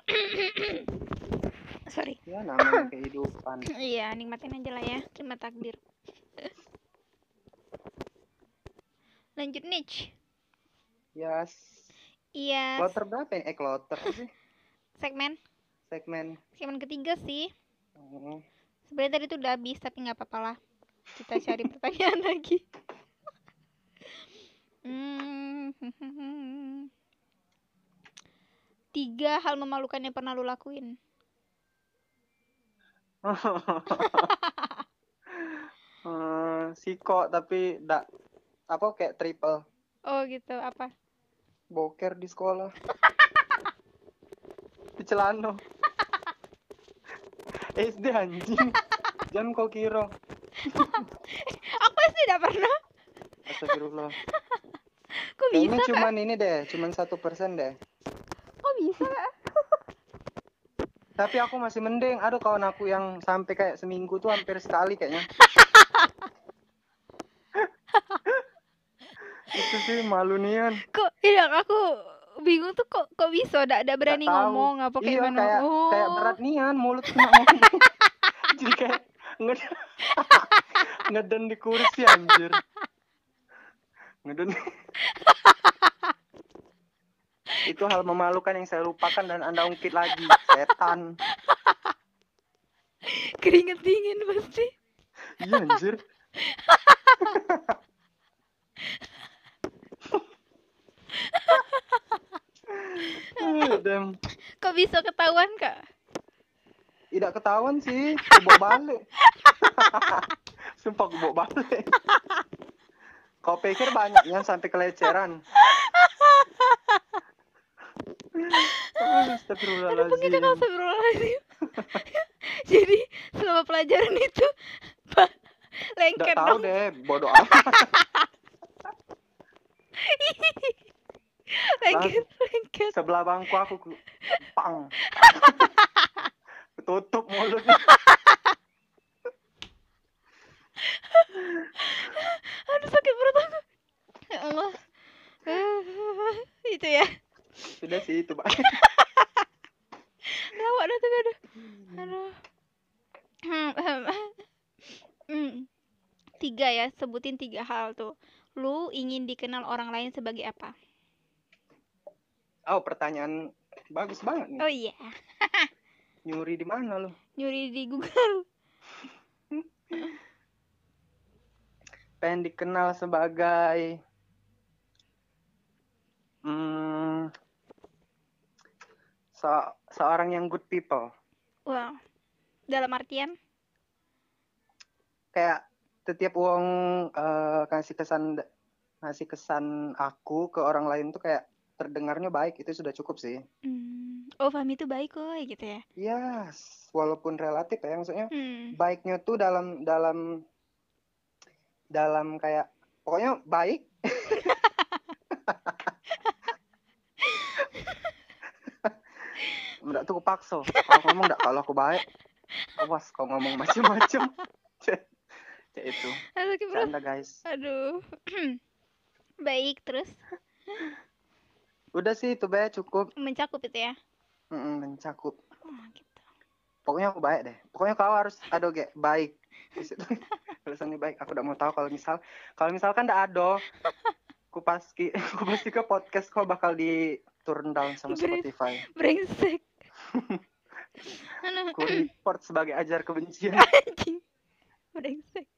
Sorry.
Ya namanya kehidupan.
Iya nikmatin aja lah ya, terima takdir. Lanjut Nich.
Ya, s-
Iya.
kloter berapa ya? Eh, kloter apa sih
Segmen,
segmen.
segmen ketiga sih.
Hmm.
Sebenarnya tadi tuh udah habis tapi nggak apa-apa lah. Kita cari pertanyaan lagi. Hmm. Tiga hal memalukan yang pernah lu lakuin.
Eh, siko tapi dak apa kayak triple
Oh gitu, apa?
boker di sekolah. di celana. SD anjing. Jangan kau kira.
Apa sih tidak pernah?
Astagfirullah.
Kok bisa?
Ini cuman ini deh, cuman satu persen deh.
Kok bisa?
Tapi aku masih mending. Aduh kawan aku yang sampai kayak seminggu tuh hampir sekali kayaknya. Itu sih malu nian.
kok tidak aku bingung tuh kok kok bisa tidak ada berani
Nggak tahu.
ngomong apa kayak
iya,
gimana
kayak,
oh
kayak berat nian mulut kena ngomong. Jadi kayak nged- ngeden di kursi anjir. Ngeden. Itu hal memalukan yang saya lupakan dan Anda ungkit lagi, setan.
keringet dingin pasti
Iya anjir. Eh, Dem,
kok bisa ketahuan kak
tidak ketahuan sih, kubok balik. Sumpah kubok balik. Kau pikir banyak yang sampai keleceran.
aduh kita nggak
Astagfirullahaladzim.
usah berulang jadi selama pelajaran itu ba-
Tidak
lengket
tahu
dong
deh, bodoh amat.
lengket lengket
Sebelah bangku aku, ku- pang. Tutup mulutnya.
aduh sakit perut aku ya Allah itu ya
Sudah sih itu, Pak.
lawak dah tuh aduh aduh Hmm. tiga ya sebutin tiga hal tuh lu ingin dikenal orang lain sebagai apa
Oh, pertanyaan bagus banget nih.
oh iya
Nyuri di mana lo?
nyuri di Google
Pengen dikenal sebagai hmm, se- seorang yang good people.
wow dalam artian
Kayak setiap uang eh, kasih kesan ngasih kesan aku ke orang lain tuh kayak terdengarnya baik itu sudah cukup sih.
hmm, oh Fahmi tuh baik kok gitu ya
Yes, walaupun relatif ya maksudnya
hmm.
baiknya tuh dalam dalam dalam kayak pokoknya baik Enggak tuh paksa kalau ngomong enggak kalau aku baik awas kau ngomong macem-macem Cek cek itu
aduh sakit perut
canda guys
aduh baik terus
udah sih itu be cukup
mencakup itu ya
Mm-mm, mencakup
oh, gitu.
pokoknya aku baik deh pokoknya kau harus aduh ge baik Di situ. tulisannya baik aku udah mau tahu kalau misal kalau misalkan ndak ado ku pasti ku pasti ke podcast kau bakal di turn down sama
Berit.
Spotify
brengsek aduh
ku report sebagai ajar kebencian
anjing brengsek ya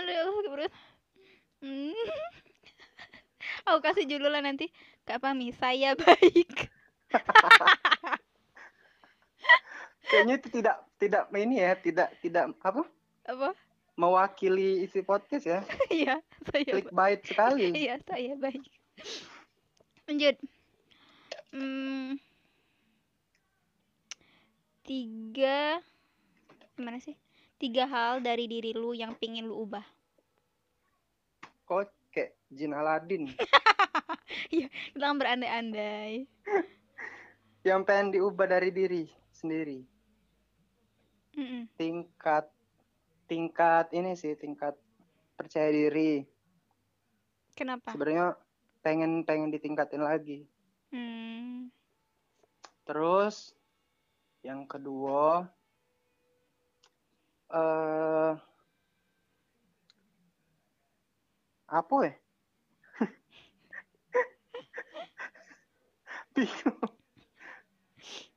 aduh aku sakit perut hmm. aku kasih judulnya nanti Kak Pami, saya baik.
Kayaknya itu tidak tidak ini ya, tidak tidak apa?
Apa?
Mewakili isi podcast ya.
Iya, saya baik.
Clickbait sekali.
Iya, saya baik. Lanjut. Hmm. Tiga gimana sih? Tiga hal dari diri lu yang pingin lu ubah.
Kok kayak Jin Aladin
Kita kan berandai-andai.
yang pengen diubah dari diri sendiri.
Mm-mm.
Tingkat tingkat ini sih, tingkat percaya diri.
Kenapa?
Sebenarnya pengen pengen ditingkatin lagi.
Hmm.
Terus yang kedua eh apa ya? Bingung.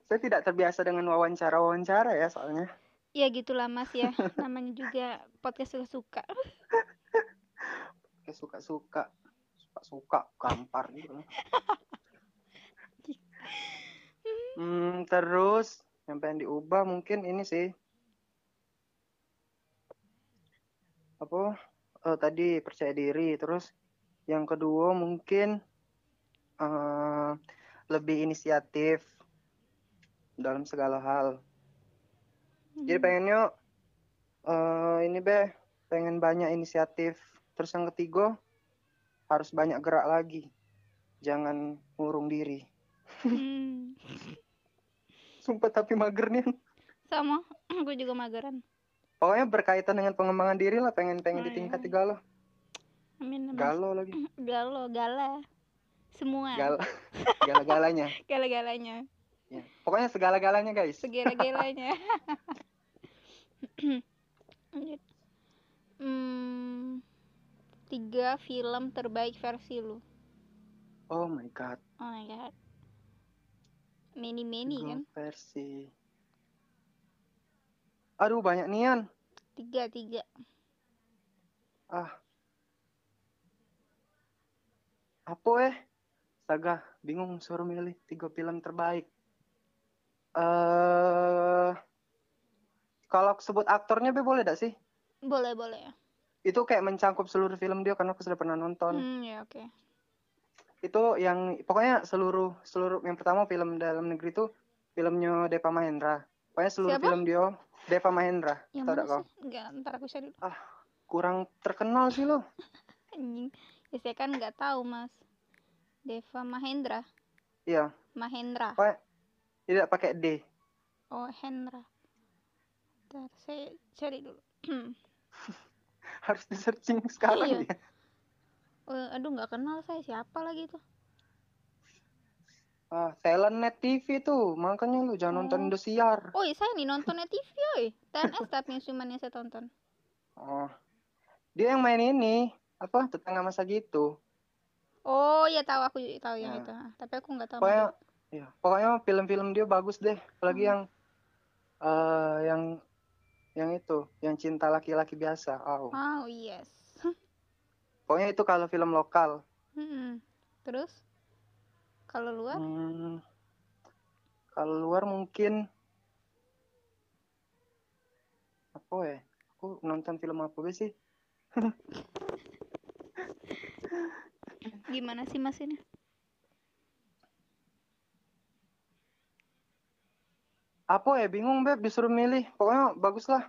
Saya tidak terbiasa dengan wawancara-wawancara ya soalnya.
Ya gitulah Mas ya. Namanya juga podcast suka-suka.
Kayak suka-suka. Suka-suka gampar gitu. Hmm, terus yang pengen diubah mungkin ini sih. Apa? eh, tadi percaya diri. Terus yang kedua mungkin eh, lebih inisiatif dalam segala hal.
Hmm.
Jadi pengennya eh, ini be pengen banyak inisiatif. Terus yang ketiga harus banyak gerak lagi. Jangan ngurung diri.
Hmm.
Sumpah tapi mager nih.
Sama, gue juga mageran.
Pokoknya berkaitan dengan pengembangan diri lah, pengen pengen
Oh,
ditingkat
iya.
tiga galau,
Amin. Mas.
galau lagi,
Galo, gala. Semua.
gal, gala galanya.
Gala-galanya.
Ya. Pokoknya segala galanya guys.
segera-geranya Lanjut. hmm, tiga film terbaik versi lu
Oh my god,
oh my god many many
tiga
kan
versi. Aduh banyak nian.
tiga tiga
Apa eh? Saga, bingung suruh milih tiga film terbaik. Eh, kalau sebut aktornya be boleh gak sih?
boleh boleh ya
Itu kayak mencangkup seluruh film dia karena aku sudah pernah nonton.
hmm ya oke
itu yang pokoknya seluruh seluruh yang pertama film dalam negeri itu filmnya Deva Mahendra pokoknya seluruh
Siapa?
film dia Deva Mahendra
yang
tau
mana
gak kau
sih enggak ntar aku cari dulu
kurang terkenal sih lo
anjing ya saya kan nggak tahu mas Deva Mahendra
iya
Mahendra
tidak pakai D
oh Hendra ntar saya cari dulu
harus di searching sekarang
Iya.
ya
Eh, aduh nggak kenal saya siapa lagi tuh
ah Thailand Net TV tuh makanya lu jangan
Oh.
nonton Indosiar
Oi, saya nih nontonnya TV, oi. TNS tapi cuman yang saya tonton.
oh dia yang main ini apa tetangga masa gitu
Oh, ya tahu aku juga tahu yang
Ya.
itu. Ah, Tapi aku nggak tahu.
pokoknya iya, pokoknya film-film dia bagus deh apalagi
Hmm.
yang eh yang yang itu yang cinta laki-laki biasa oh.
Oh, yes.
Pokoknya itu kalau film lokal.
Mm-mm. Terus kalau luar
Hmm, kalau luar mungkin apa ya? Aku nonton film apa be sih?
gimana sih Mas ini?
Apa ya? Bingung beb disuruh milih. Pokoknya bagus lah.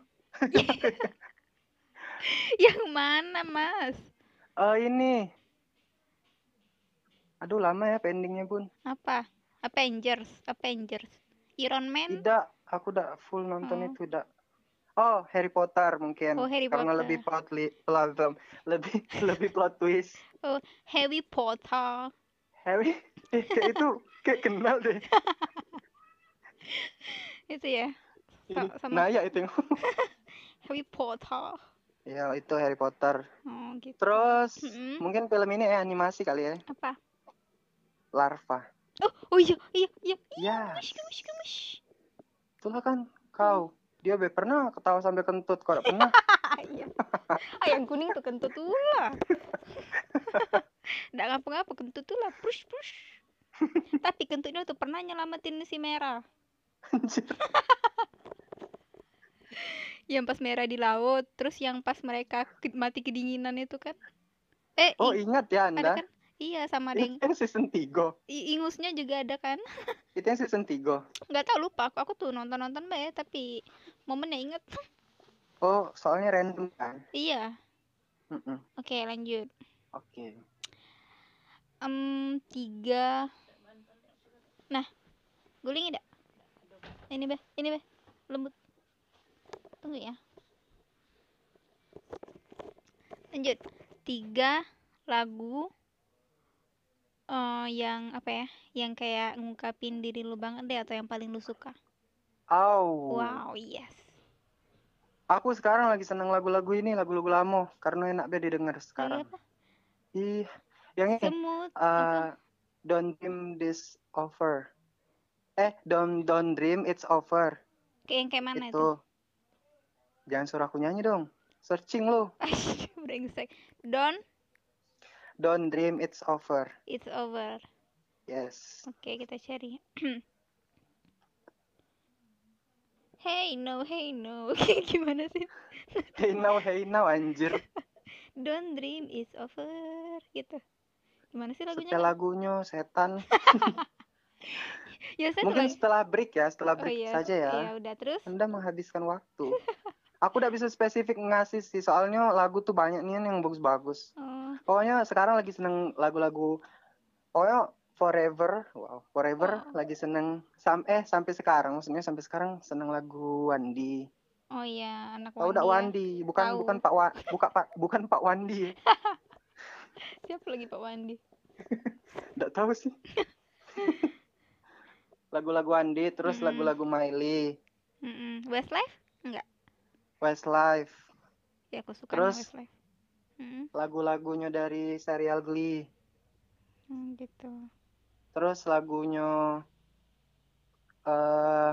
yang mana, Mas?
Eh ini. Aduh lama ya pendingnya bun.
Apa? Avengers, Avengers. Iron Man.
Tidak, aku udah full nonton
Oh.
itu udah. Oh Harry Potter mungkin.
Oh, Harry
Karena
Potter.
lebih plot li- plot lebih lebih plot twist.
Harry Potter.
Harry eh, kayak itu kayak kenal deh.
Itu ya. Sa-
Ini,
sama-
Nah ya itu yang
Harry Potter.
Ya itu Harry Potter.
Oh, gitu.
Terus
Mm-mm.
mungkin film ini eh, animasi kali ya,
Apa?
Larva.
Oh, oh iya, iya, iya.
Ya,
Gemush, gemush, gemush.
itulah kan kau. Dia be pernah ketawa sampai kentut kok pernah.
Ah, iya. Ah, yang kuning tuh kentut tuh lah. Nggak ngapa-ngapa kentut tuh lah push push. Tapi kentutnya tuh pernah nyelamatin si merah.
Anjir.
Yang pas merah di laut, terus yang pas mereka ke- mati kedinginan itu kan. Eh,
Oh
i-
ingat ya
ada
anda?
kan? Iya sama ada
Itu
yang
yang season 3
i- ingusnya juga ada kan?
Itu yang season 3
Nggak tahu lupa aku, aku tuh nonton-nonton mbak ya, tapi momennya inget.
Oh soalnya random kan?
iya.
Mm-mm.
Oke, lanjut.
Oke.
Em tiga. Nah, guling tidak? Ini be, ini be, lembut. Tunggu ya. Lanjut. Tiga lagu eh yang apa ya? Yang kayak ngungkapin diri lu banget deh atau yang paling lu suka.
Au.
Wow, yes.
Aku sekarang lagi seneng lagu-lagu ini, lagu-lagu lama, karena enak deh didengar
Lagi
sekarang. Eh,
apa? Iya.
Ih, yang ini,
Semut. apa?
uh, don't dream this over. Eh, don't don't dream it's over.
Kayak yang kayak mana
itu.
itu?
Jangan suruh aku nyanyi dong. Searching lo.
Brengsek. Don,
Don't dream it's over.
it's over.
Yes.
Oke, kita cari. hey no, hey no. Kayak gimana sih?
Hey now, hey now, anjir.
Don't dream is over gitu. Gimana sih lagunya?
Setel
Kak?
lagunya setan.
Ya, saya
Mungkin
tuh
setelah break ya, setelah
lagi-
break saja ya.
Iya, udah terus.
Anda menghabiskan waktu. Aku udah bisa spesifik ngasih sih, soalnya lagu tuh banyak nih yang bagus-bagus.
Oh,
Pokoknya sekarang lagi seneng lagu-lagu, pokoknya Forever, wow, Forever
Oh.
lagi seneng, sam eh sampai sekarang, maksudnya sampai sekarang seneng lagu Wandi.
oh iya, anak
Tahu
Wandi.
udah
ya.
Wandi, bukan
Tahu.
bukan Pak Wa, buka Pak, bukan Pak Wandi,
Siapa lagi Pak Wandi?
nggak tahu sih. lagu-lagu Wandi, terus
Mm-mm.
lagu-lagu Miley,
Mm-mm. Westlife?
Westlife,
Ya aku suka sama
Terus?
Westlife. Mm-mm.
lagu-lagunya dari serial Glee.
Hmm, gitu.
Terus lagunya eh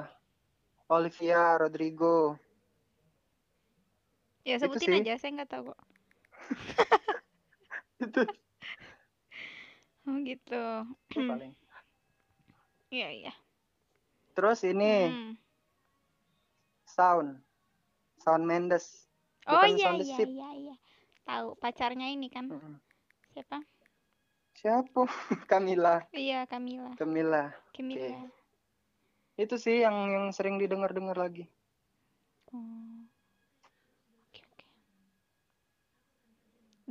Olivia Rodrigo.
Ya
Itu
sebutin
sih.
aja, saya nggak tahu kok.
Itu
Oh gitu.
paling.
Iya iya.
Terus ini
Hmm.
Sound. Sound Mendes.
Oh
bukan
iya
Sound the
iya
Ship.
iya iya. Tahu pacarnya ini kan
Mm-mm.
siapa?
Siapa? Camila.
Iya Camila.
Camila.
Camila.
Itu sih yang yang sering didengar-dengar lagi.
Oh. Oke oke.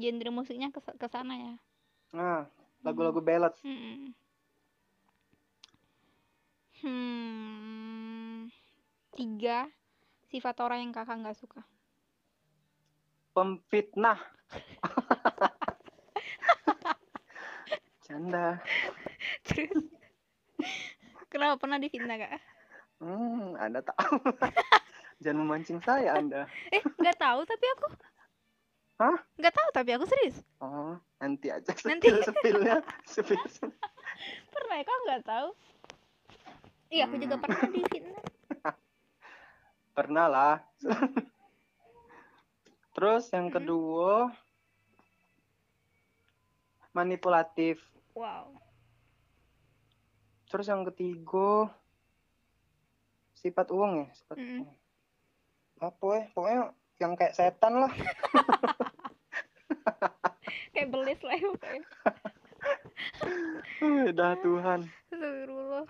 Genre musiknya ke ke sana ya.
Nah, lagu-lagu ballad.
Hmm. Hmm. Tiga sifat orang yang kakak nggak suka.
Pemfitnah. Canda.
Terus. Kenapa pernah difitnah kak?
Hmm, Anda tahu. Jangan memancing saya, Anda.
Eh nggak tahu tapi aku.
Hah?
Nggak tahu tapi aku serius.
Oh, nanti aja
Nanti.
sepil sepilnya, sepil
Pernah ya kok nggak tahu? Iya aku juga
Hmm.
pernah difitnah.
Pernah lah. Terus yang
Mm-mm.
kedua manipulatif.
Wow.
Terus yang ketiga sifat uang ya, sifat
Mm-mm.
uang. Apa eh? Pokoknya yang kayak setan lah.
Kayak belis lah ya pokoknya.
Eh, Dah Tuhan.
Astagfirullah.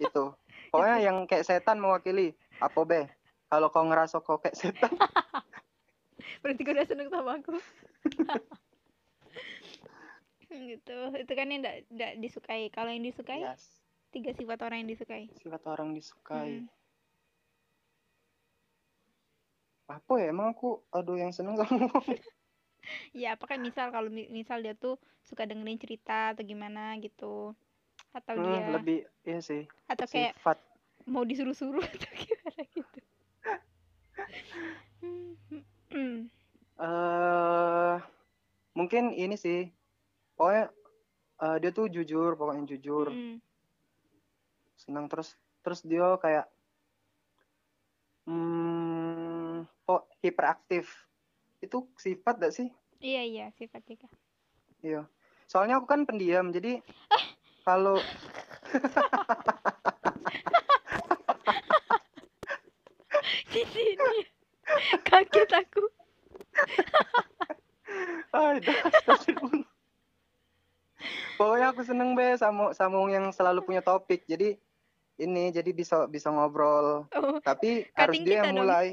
Itu. Pokoknya yang kayak setan mewakili apa be? Kalau kau ngerasa kau kayak setan,
Berarti kau udah seneng sama aku. gitu. Itu kan yang ndak ndak disukai. Kalau yang disukai,
yes.
tiga sifat orang yang disukai.
Sifat orang disukai.
Mm.
Apa ya emang aku aduh yang seneng sama uang.
Ya, apakah misal kalau mi- misal dia tuh suka dengerin cerita atau gimana gitu. Atau
Hmm,
dia
lebih iya sih
atau kayak
sifat
mau disuruh-suruh atau gimana gitu. Hmm.
eh mungkin ini sih pokoknya eh, dia tuh jujur pokoknya jujur
Hmm.
senang terus terus dia kayak hmm oh hiperaktif itu sifat gak sih
Iya, iya, sifat tiga.
iya Soalnya aku kan pendiam, jadi kalau
di sini kaget aku
Ay, dah, astagfirullah. Pokoknya aku seneng be sama samung yang selalu punya topik. Jadi ini jadi bisa bisa ngobrol.
oh,
Tapi harus
Cutting
dia
kita
yang
dong.
mulai.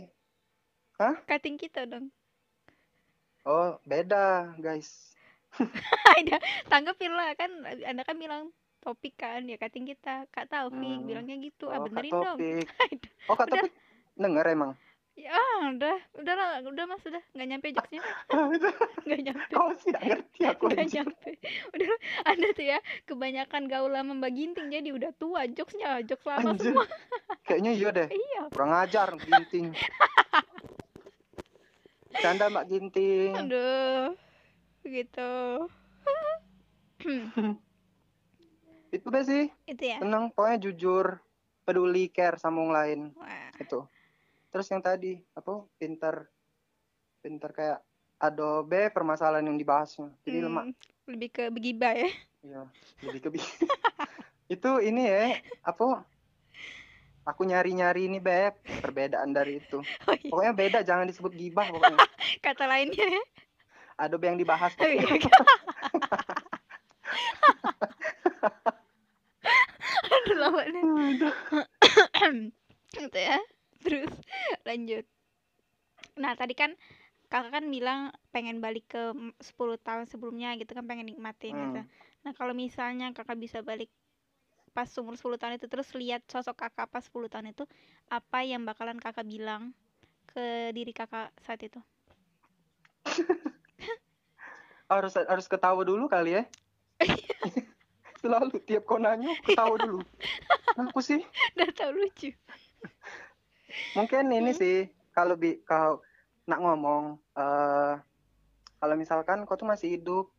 cutting kita dong
Oh, beda, guys.
ada tanggepin lah kan anda kan bilang topik kan ya cutting kita kak Taufik
Hmm.
bilangnya gitu ah
Oh, Kak
benerin dong
Topik. Oh, Kak
Udah.
Topik denger emang.
ya ah, udah udah lah udah mas udah nggak nyampe jokesnya nggak nyampe
Kau sih nggak ngerti aku.
nggak
anjir.
nyampe udah anda tuh ya kebanyakan gaul lama mbak ginting jadi udah tua jokesnya jokes lama
Anjir.
semua
Kayaknya iya deh.
iya
Kurang ajar Ginting. Canda Mbak Ginting.
aduh gitu
Itu be sih.
itu ya
Seneng pokoknya jujur, peduli, care sama orang lain.
Wah.
itu Gitu. terus yang tadi apa pinter pinter kayak adobe permasalahan yang dibahasnya jadi
Hmm,
lemak
lebih ke begibah ya
ya jadi kebi itu ini ya apa aku nyari nyari ini beb perbedaan dari itu
oh, iya.
pokoknya beda jangan disebut gibah pokoknya
kata lainnya ya
adobe yang dibahas
Oh,
pokoknya.
iya. Aduh, lama nih. gitu ya terus lanjut nah tadi kan kakak kan bilang pengen balik ke m- 10 tahun sebelumnya gitu kan pengen nikmatin gitu
Hmm.
nah kalau misalnya kakak bisa balik pas umur 10 tahun itu terus lihat sosok kakak pas 10 tahun itu apa yang bakalan kakak bilang ke diri kakak saat itu
harus harus ketawa dulu kali ya selalu tiap konanya ketawa dulu Kan aku sih
udah tau lucu
mungkin ini
Hmm.
sih kalau bi kalau nak ngomong eh kalau misalkan kau tuh masih hidup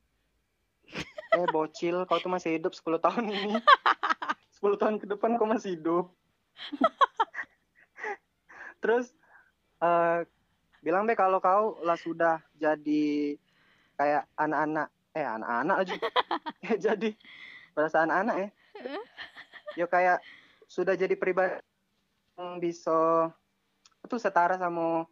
eh bocil kau tuh masih hidup 10 tahun ini 10 tahun ke depan kau masih hidup terus eh bilang be kalau kau lah sudah jadi kayak anak-anak eh anak-anak aja Eh, jadi perasaan anak ya yo kayak sudah jadi pribadi yang bisa itu setara sama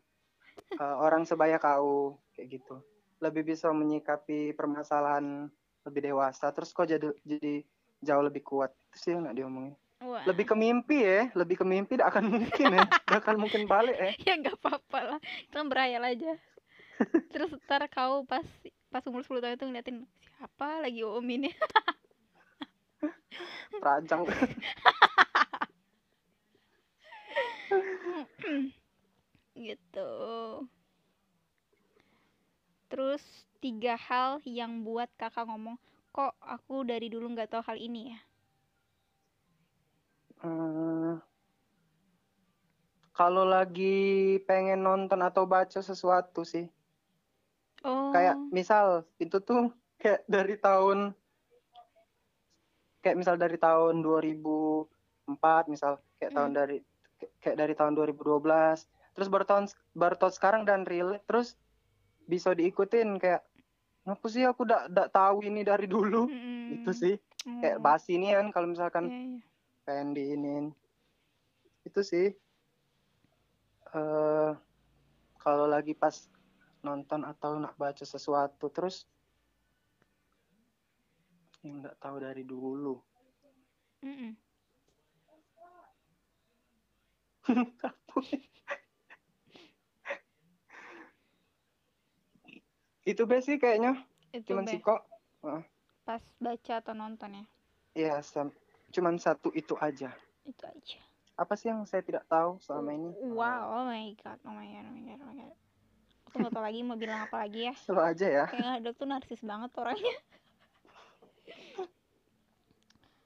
eh, orang sebaya kau kayak gitu lebih bisa menyikapi permasalahan lebih dewasa terus kok jadi jadi jauh lebih kuat itu sih yang nak diomongin
wah
lebih ke mimpi ya lebih ke mimpi tidak akan mungkin ya tidak akan mungkin balik ya
ya nggak apa-apa lah kita berayal aja terus ntar kau pas pas umur 10 tahun itu ngeliatin siapa lagi om ini
terancang
gitu terus tiga hal yang buat kakak ngomong kok aku dari dulu nggak tahu hal ini ya
Hmm. kalau lagi pengen nonton atau baca sesuatu sih
oh
kayak misal itu tuh kayak dari tahun kayak misal dari tahun 2004 misal kayak tahun
Hmm.
dari kayak dari tahun 2012 terus baru tahun baru tahun sekarang dan real terus bisa diikutin kayak ngapa sih aku dak dak tahu ini dari dulu
Mm-mm.
itu sih kayak
Oh,
bahas ini kan kalau misalkan
iya, iya.
pengen diinin itu sih eh kalau lagi pas nonton atau nak baca sesuatu terus yang nggak tahu dari dulu
Mm-mm.
itu be sih kayaknya
itu
cuman
Be,
sih kok
pas baca atau nonton ya
ya sam- cuman satu itu aja
itu aja
apa sih yang saya tidak tahu selama ini
wow oh my god oh my god oh my god, oh my god. aku nggak tahu lagi mau bilang apa lagi ya
selalu aja ya
Kayaknya ada tuh narsis banget orangnya.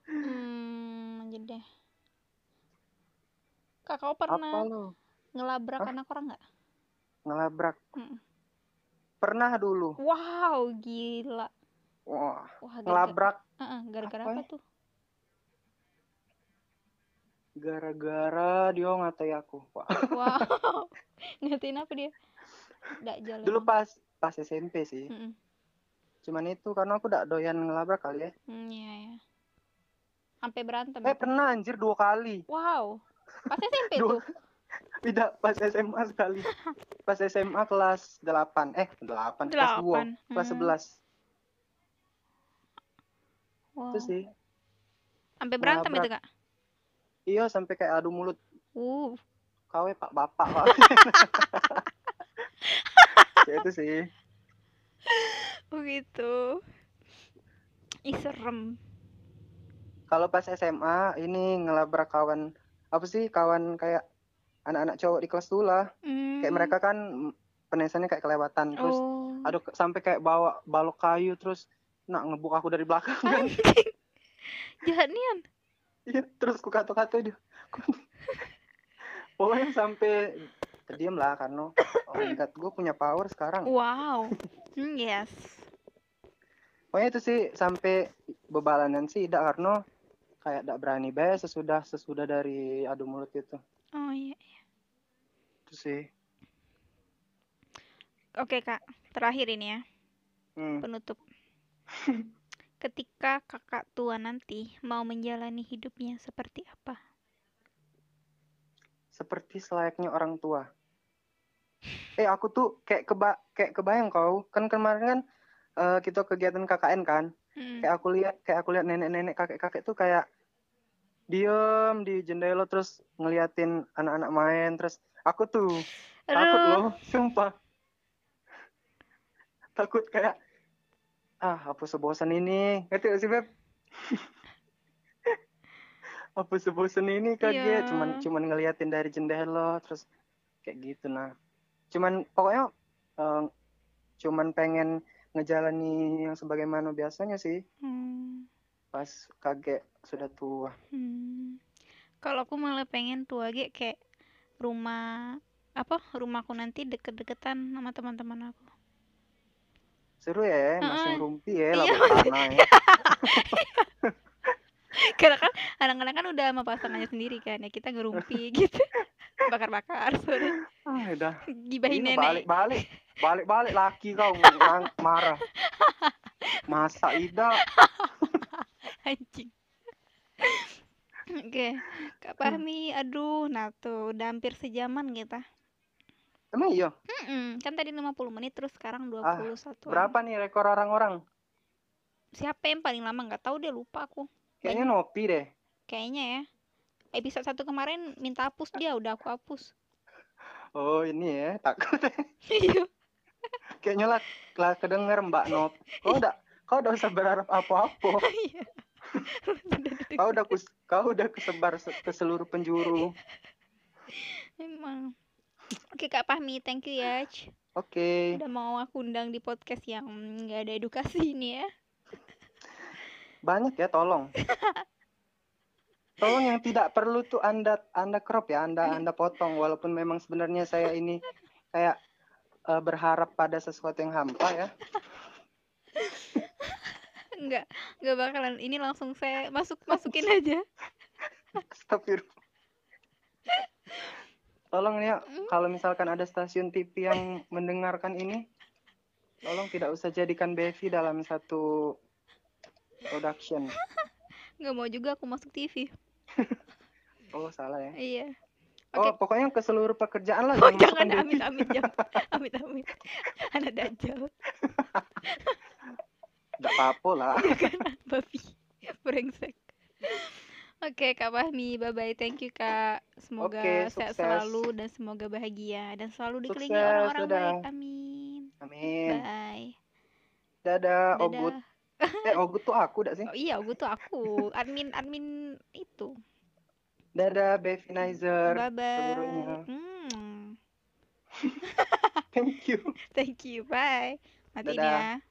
Hmm, lanjut deh. Kakak
apa
pernah
lo
ngelabrak
Hah?
anak orang nggak?
ngelabrak
Mm.
pernah dulu
Wow, gila.
wah
Wah, gara-gara
ngelabrak
Heeh, gara-gara
apa
apa,
ya?
tuh?
gara-gara dia ngatai aku Wah,
Wow. Ngertiin apa dia? Nggak jalan.
dulu pas pas SMP sih
Mm-mm.
Cuman itu karena aku tidak doyan ngelabrak kali ya.
Hmm, iya ya. Sampai berantem.
Eh
itu.
pernah anjir dua kali.
Wow. Pas SMP
Dua-
tuh.
Tidak pas SMA sekali. Pas SMA kelas 8. Eh 8 kelas 2.
Delapan.
Kelas
Hmm,
11.
Wow.
Itu sih.
Sampai berantem itu, Kak.
Iya sampai kayak adu mulut.
Uh.
Kawe pak bapak pak. ya itu sih.
Oh gitu. Ih serem.
Kalau pas SMA ini ngelabrak kawan apa sih kawan kayak anak-anak cowok di kelas tuh lah. Kayak mereka kan mm, penesannya kayak kelewatan terus
Hmm. oh.
aduh ke- sampai kayak bawa balok kayu terus nak ngebuk aku dari belakang kan
Anjing. Jahat nian.
Iya, terus ku kata-kata dia Ku- pokoknya sampai terdiam lah karena oh my god gue punya power sekarang
Wow. Hmm, Yes.
pokoknya itu sih sampai bebalanan sih tidak karena kayak tidak berani bayar sesudah sesudah dari adu mulut itu
Oh iya.
itu sih
Oke, Kak. Terakhir ini ya,
hmm.
penutup. Ketika kakak tua nanti mau menjalani hidupnya seperti apa?
seperti selayaknya orang tua eh aku tuh kayak keba kayak kebayang kau kan kemarin kan eh, kita kegiatan KKN kan
Hmm.
kayak aku lihat kayak aku lihat nenek-nenek kakek-kakek tuh kayak diem di jendela terus ngeliatin anak-anak main terus aku tuh takut
Aduh.
loh sumpah takut kayak ah apa sebosan ini ngerti gak sih beb apa sebosan ini kaget
Iya.
cuman cuman ngeliatin dari jendela terus kayak gitu nah cuman pokoknya eh, cuman pengen ngejalani yang sebagaimana biasanya sih
Hmm.
pas kakek sudah tua
Hmm. Kalau aku malah pengen tua ge kayak rumah apa rumahku nanti deket-deketan sama teman-teman aku.
seru ya masih
Heeh.
rumpi ya
Iya,
labu tanah ya
Karena kan kadang-kadang kan udah sama pasangannya sendiri kan ya kita ngerumpi gitu. Bakar-bakar sore
ah, udah
gibahin
Iya,
nenek.
balik balik balik balik laki kau mang- marah masa ida
anjing oke kak
Hmm.
Fahmi aduh nah tuh udah hampir sejaman kita
emang iya
Mm-mm, kan tadi 50 menit terus sekarang 21
Ah, berapa nih rekor orang-orang
siapa yang paling lama nggak tahu deh lupa aku
kayaknya
Iya.
nopi deh
kayaknya ya episode satu kemarin minta hapus dia udah aku hapus
oh ini ya takut
Iya.
kayaknya lah lah kedenger mbak nop kau udah kau udah usah berharap apa-apa kau udah kus- kau udah kesebar se- ke seluruh penjuru
emang oke kak Fahmi thank you ya Ci.
oke
udah mau aku undang di podcast yang nggak ada edukasi ini ya
banyak ya tolong tolong yang tidak perlu tuh anda anda crop ya anda anda potong walaupun memang sebenarnya saya ini kayak eh, berharap pada sesuatu yang hampa ya
nggak nggak bakalan ini langsung saya masuk masukin aja
Astagfirullah. tolong ya kalau misalkan ada stasiun TV yang mendengarkan ini tolong tidak usah jadikan Bevi dalam satu production
nggak mau juga aku masuk TV
oh salah ya
iya
oh
oke
pokoknya ke seluruh pekerjaan lah
oh,
jangan masukkan
jangan amit amit jangan amit amit anak dajal
Nggak apa-apa lah
jangan babi brengsek Oke Kak Fahmi, bye-bye, thank you Kak Semoga
Oke,
sehat
sukses.
selalu dan semoga bahagia Dan selalu dikelilingi
Sukses,
orang-orang
dadah.
baik, amin
amin
Bye
Dadah, Ogut.
Dadah
Eh, Ogut tuh aku dak sih?
oh, Iya, gue tuh aku, admin-admin itu
Dadah, Bevinizer. seluruhnya.
Bye-bye Hmm.
Thank you.
Thank you, bye Matiin
Dadah.
ya